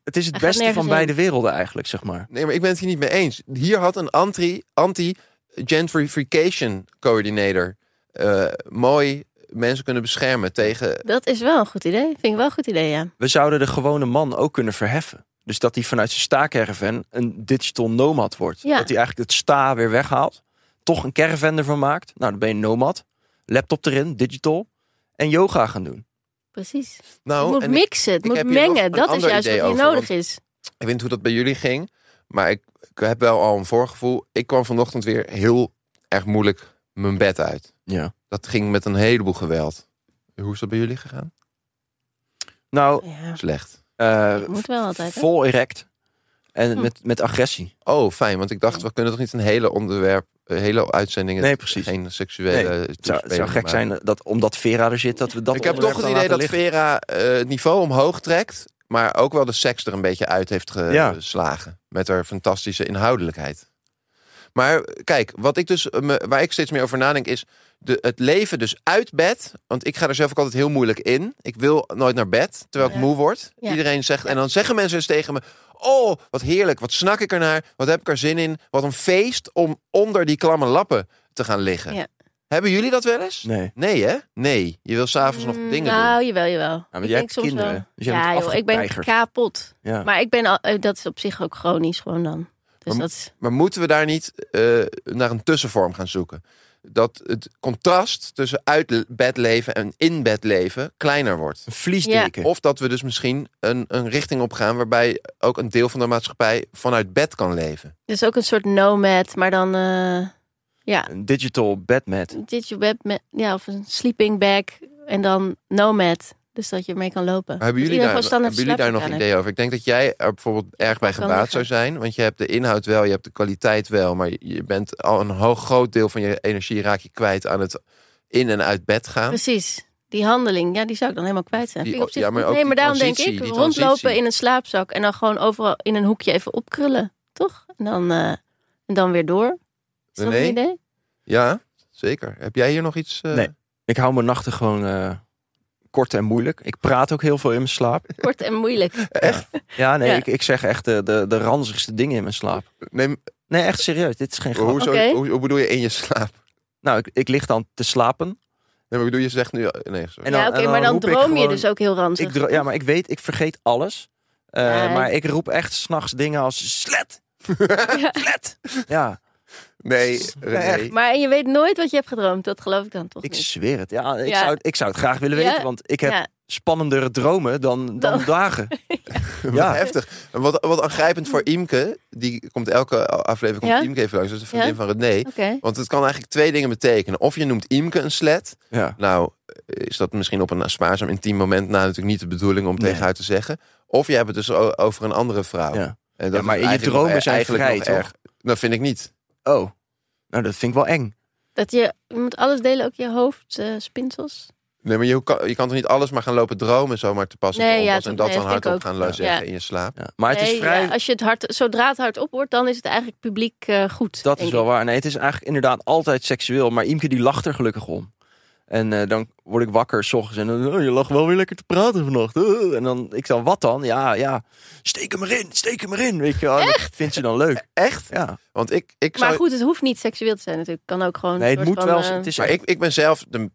S3: het is het
S4: Hij gaat
S3: beste van
S4: nergens
S3: beide werelden eigenlijk, zeg maar.
S2: Nee, maar ik ben het hier niet mee eens. Hier had een anti- anti-gentrification coördinator eh, mooi mensen kunnen beschermen tegen
S4: dat is wel een goed idee. Vind ik wel een goed idee, ja.
S3: we zouden de gewone man ook kunnen verheffen. Dus dat hij vanuit zijn sta-caravan een digital nomad wordt.
S4: Ja.
S3: Dat hij eigenlijk het sta weer weghaalt. Toch een caravan ervan maakt. Nou, dan ben je een nomad. Laptop erin, digital. En yoga gaan doen.
S4: Precies.
S2: nou
S4: het moet
S2: en ik-
S4: mixen, het
S2: ik
S4: moet
S2: heb hier nog
S4: mengen.
S2: een
S4: Dat is
S2: ander
S4: juist wat
S2: idee
S4: hier
S2: over,
S4: nodig
S2: want-
S4: is.
S2: Ik weet niet hoe dat bij jullie ging, maar ik, ik heb wel al een voorgevoel. Ik kwam vanochtend weer heel erg moeilijk mijn bed uit.
S3: Ja.
S2: Dat ging met een heleboel geweld. Hoe is dat bij jullie gegaan? oh,
S3: Nou,
S4: Ja,
S2: Slecht.
S3: eh,
S4: dat moet wel altijd. hè?
S3: vol erect. En
S4: Hm.
S3: met, met agressie.
S2: Oh, fijn, want ik dacht, we kunnen toch niet een hele onderwerp, een hele uitzending,
S3: Nee, precies.
S2: geen seksuele
S3: Nee, Het zou, het zou
S2: toespeling
S3: gek
S2: maken.
S3: zijn dat omdat Vera er zit, dat we dat
S2: Ik heb
S3: onderwerp
S2: toch
S3: dan
S2: het idee dat
S3: laten liggen.
S2: Vera eh, het niveau omhoog trekt, maar ook wel de seks er een beetje uit heeft
S3: Ja.
S2: geslagen. Met haar fantastische inhoudelijkheid. Maar kijk, wat ik dus, eh, me- waar ik steeds meer over nadenk is de, het leven dus uit bed. Want ik ga er zelf ook altijd heel moeilijk in. Ik wil nooit naar bed, terwijl ik
S4: Ja.
S2: moe word.
S4: Ja.
S2: Iedereen zegt, en dan zeggen mensen eens tegen me... Oh, wat heerlijk, wat snak ik ernaar, wat heb ik er zin in. Wat een feest om onder die klamme lappen te gaan liggen.
S4: Ja.
S2: Hebben jullie dat wel eens?
S3: Nee.
S2: Nee, hè? Nee. Je wil s'avonds nog
S4: Mm,
S2: dingen doen.
S4: Nou, jawel, jawel.
S3: maar jij
S4: ik denk
S3: hebt
S4: soms
S3: kinderen,
S4: wel.
S3: dus jij
S4: ja,
S3: bent
S4: joh, ik ben
S3: afgepeigerd.
S4: kapot.
S3: Ja.
S4: Maar ik ben al, eh, dat is op zich ook chronisch gewoon dan. Dus
S2: Maar-
S4: dat is,
S2: Maar moeten we daar niet eh, naar een tussenvorm gaan zoeken? Dat het contrast tussen uit bed leven en in bed leven kleiner wordt.
S3: Een vliesdeken.
S2: Of dat we dus misschien een, een richting op gaan waarbij ook een deel van de maatschappij vanuit bed kan leven.
S4: dus ook een soort nomad, maar dan eh ja,
S3: Een digital bedmat.
S4: dit je bed met ja of een sleeping bag en dan nomad, dus dat je mee kan lopen.
S2: Maar hebben
S4: Dus
S2: jullie daar, hebben
S4: iedereen gewoon standaard
S2: jullie daar nog
S4: slaapkamer.
S2: ideeën over? Ik denk dat jij er bijvoorbeeld erg bij
S4: Kan
S2: gebaat
S4: liggen.
S2: zou zijn. Want je hebt de inhoud wel, je hebt de kwaliteit wel. Maar je- je bent al een hoog groot deel van je energie raak je kwijt aan het in en uit bed gaan.
S4: Precies. Die handeling, ja, die zou ik dan helemaal kwijt zijn.
S2: Die-
S4: Vind ik op zich
S2: ja, maar
S4: goed.
S2: ook
S4: nee,
S2: die
S4: maar daarom denk
S2: transitie,
S4: ik,
S2: die
S4: rondlopen
S2: transitie.
S4: in een slaapzak en dan gewoon overal in een hoekje even opkrullen, toch? En dan, eh, en dan weer door. Is dat
S2: René?
S4: een idee?
S2: Ja, zeker. Heb jij hier nog iets? eh,
S3: Nee. Ik hou mijn nachten gewoon eh, kort en moeilijk. Ik praat ook heel veel in mijn slaap.
S4: Kort en moeilijk.
S3: Ja, nee,
S4: Ja.
S3: Ik, ik zeg echt de, de, de ranzigste dingen in mijn slaap.
S2: Neem,
S3: Nee, echt serieus, dit is geen grap.
S2: hoezo,
S4: Oké.
S2: hoe, hoe bedoel je in je slaap?
S3: Nou, ik, ik lig dan te slapen.
S2: Nee, maar ik bedoel, je zegt nu... Nee, sorry.
S3: En
S4: ja,
S3: dan-
S4: oké,
S3: en dan
S4: maar dan
S3: roep ik
S4: droom je
S3: gewoon-
S4: dus ook heel ranzig.
S3: Ik dro- ja, maar ik weet, ik vergeet alles. Eh,
S4: Ja,
S3: maar ik roep echt s'nachts dingen als slet. Slet. Ja.
S2: Nee, René.
S3: echt.
S4: Maar je weet nooit wat je hebt gedroomd. Dat geloof ik dan toch
S3: Ik
S4: niet.
S3: zweer het. Ja, ik,
S4: Ja.
S3: Zou, ik zou het graag willen weten,
S4: Ja.
S3: want ik heb
S4: Ja.
S3: spannendere dromen dan, dan
S4: Dan-
S3: dagen.
S2: Ja.
S3: ja.
S2: Heftig. En Wat, wat aangrijpend voor Imke, die komt elke aflevering komt
S4: Ja?
S2: Imke even langs. Dat is een vriendin
S4: Ja?
S2: van René.
S4: Oké.
S2: Want het kan eigenlijk twee dingen betekenen. Of je noemt Imke een slet.
S3: ja.
S2: Nou, is dat misschien op een spaarzaam intiem moment nou natuurlijk niet de bedoeling om
S3: Nee.
S2: tegen haar te zeggen. Of je hebt het dus o- over een andere vrouw.
S3: Ja.
S2: En is
S3: Ja, maar in je
S2: eigenlijk
S3: dromen zijn vrij,
S2: nog
S3: toch?
S2: erg. Dat vind ik niet.
S3: Oh, nou dat vind ik wel eng.
S4: Dat je, je moet alles delen, ook je eh, hoofdspinsels.
S2: Nee, maar je kan, je kan toch niet alles maar gaan lopen dromen zomaar te passen.
S4: Nee,
S2: op
S4: ja,
S2: onpas en dat
S4: dat- nee,
S2: dan
S4: dat vind ik
S2: hardop
S4: ook.
S2: gaan la-
S4: Ja.
S2: zeggen
S4: Ja.
S2: in je slaap.
S3: Ja. Maar het
S4: Nee,
S3: is vrij...
S4: ja, als je het hard, zodra het hard op wordt, dan is het eigenlijk publiek eh, goed.
S3: Dat
S4: denk
S3: is wel
S4: ik.
S3: waar. Nee, het is eigenlijk inderdaad altijd seksueel. Maar Imke die lacht er gelukkig om. En eh, dan word ik wakker s ochtends en dan, oh, je lag wel weer lekker te praten vannacht. Eh, en dan, ik dan, wat dan? Ja, ja, steek hem erin, steek hem erin. Weet je wel. En dat vindt ze dan leuk.
S2: Echt?
S3: Ja.
S2: Want ik, ik
S4: Maar
S2: zou...
S4: goed, het hoeft niet seksueel te zijn natuurlijk. Het kan ook gewoon. een
S3: Nee, het
S4: soort
S3: moet
S4: van,
S3: wel.
S4: eh,
S3: Het is
S2: Maar
S3: echt-
S2: ik, ik ben zelf, de,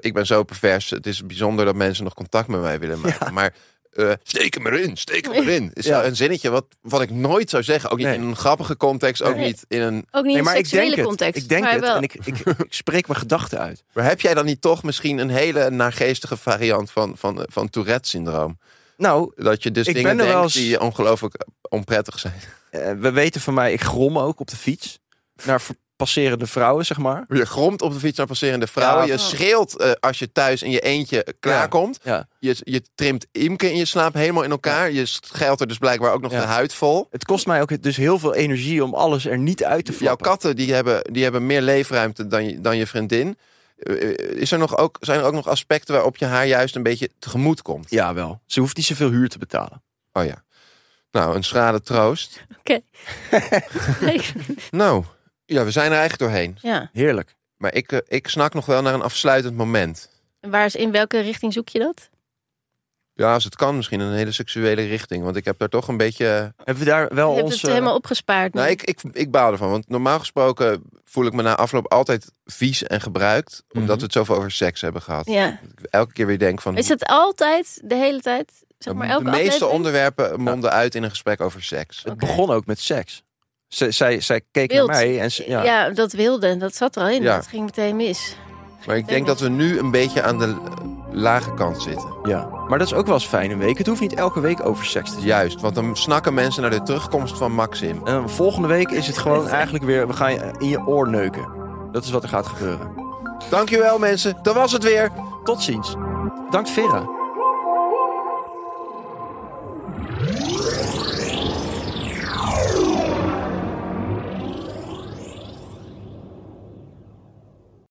S2: ik ben zo pervers. Het is bijzonder dat mensen nog contact met mij willen maken. Maar eh, steek hem erin, steek hem erin. Is
S3: Ja.
S2: wel een zinnetje wat, wat ik nooit zou zeggen. Ook niet
S3: Nee.
S2: in een grappige context, ook
S4: Nee.
S2: niet in een...
S4: ook niet
S3: Nee,
S4: in een
S3: maar ik denk
S4: seksuele
S3: het.
S4: context.
S3: Ik denk
S4: maar
S3: het
S4: wel.
S3: en ik, ik, ik spreek mijn gedachten uit.
S2: Maar heb jij dan niet toch misschien een hele naargeestige variant van, van, eh, van Tourette-syndroom?
S3: Nou,
S2: Dat je dus
S3: Ik
S2: dingen
S3: ben er wel
S2: denkt
S3: eens-
S2: die ongelooflijk onprettig zijn.
S3: eh, we weten van mij, ik grom ook op de fiets. Naar ver- passerende vrouwen, zeg maar.
S2: Je gromt op de fiets naar passerende vrouwen.
S3: Ja.
S2: je schreeuwt eh, als je thuis in je eentje klaarkomt.
S3: Ja.
S2: Je, je trimt Imke in je slaap helemaal in elkaar. Je scheilt er dus blijkbaar ook nog
S3: Ja.
S2: de huid vol.
S3: Het kost mij ook dus heel veel energie om alles er niet uit te
S2: Jouw
S3: flappen.
S2: katten die hebben, die hebben meer leefruimte dan je, dan je vriendin. Eh, Is er nog ook, zijn er ook nog aspecten waarop je haar juist een beetje tegemoet komt?
S3: Ja, wel. Ze hoeft niet zoveel huur te betalen.
S2: Oh ja. Nou, een schrale troost. Nou, ja, we zijn er eigenlijk doorheen.
S4: ja.
S3: Heerlijk.
S2: Maar ik, eh, ik snak nog wel naar een afsluitend moment.
S4: En waar is, in welke richting zoek je dat?
S2: Ja, als het kan, misschien een hele seksuele richting. Want ik heb daar toch een beetje.
S3: Hebben we daar wel
S4: je hebt
S3: ons...
S4: het
S3: eh,
S4: helemaal opgespaard. nu.
S2: Nou, ik, ik, ik baal ervan. Want normaal gesproken voel ik me na afloop altijd vies en gebruikt. Omdat
S3: Mhm.
S2: we het zoveel over seks hebben gehad.
S4: ja.
S2: Ik elke keer weer denk van.
S4: Is het altijd, de hele tijd? Zeg maar, elke
S2: de meeste
S4: aflevering?
S2: onderwerpen monden uit in een gesprek over seks.
S3: Het
S4: Oké.
S3: begon ook met seks. Zij, zij, zij keek
S4: Wild.
S3: naar mij en ze, ja.
S4: Ja. dat wilde en dat zat er al in.
S2: Ja.
S4: Dat ging meteen mis.
S2: Maar ik denk dat we nu een beetje aan de eh, lage kant zitten.
S3: ja. Maar dat is ook wel eens fijn een week. Het hoeft niet elke week over seks te zijn.
S2: Juist, want dan snakken mensen naar de terugkomst van Maxim.
S3: En dan eh, volgende week is het gewoon eigenlijk weer... We gaan je in je oor neuken. Dat is wat er gaat gebeuren.
S2: Dankjewel mensen, dat was het weer.
S3: Tot ziens. Dank Vera.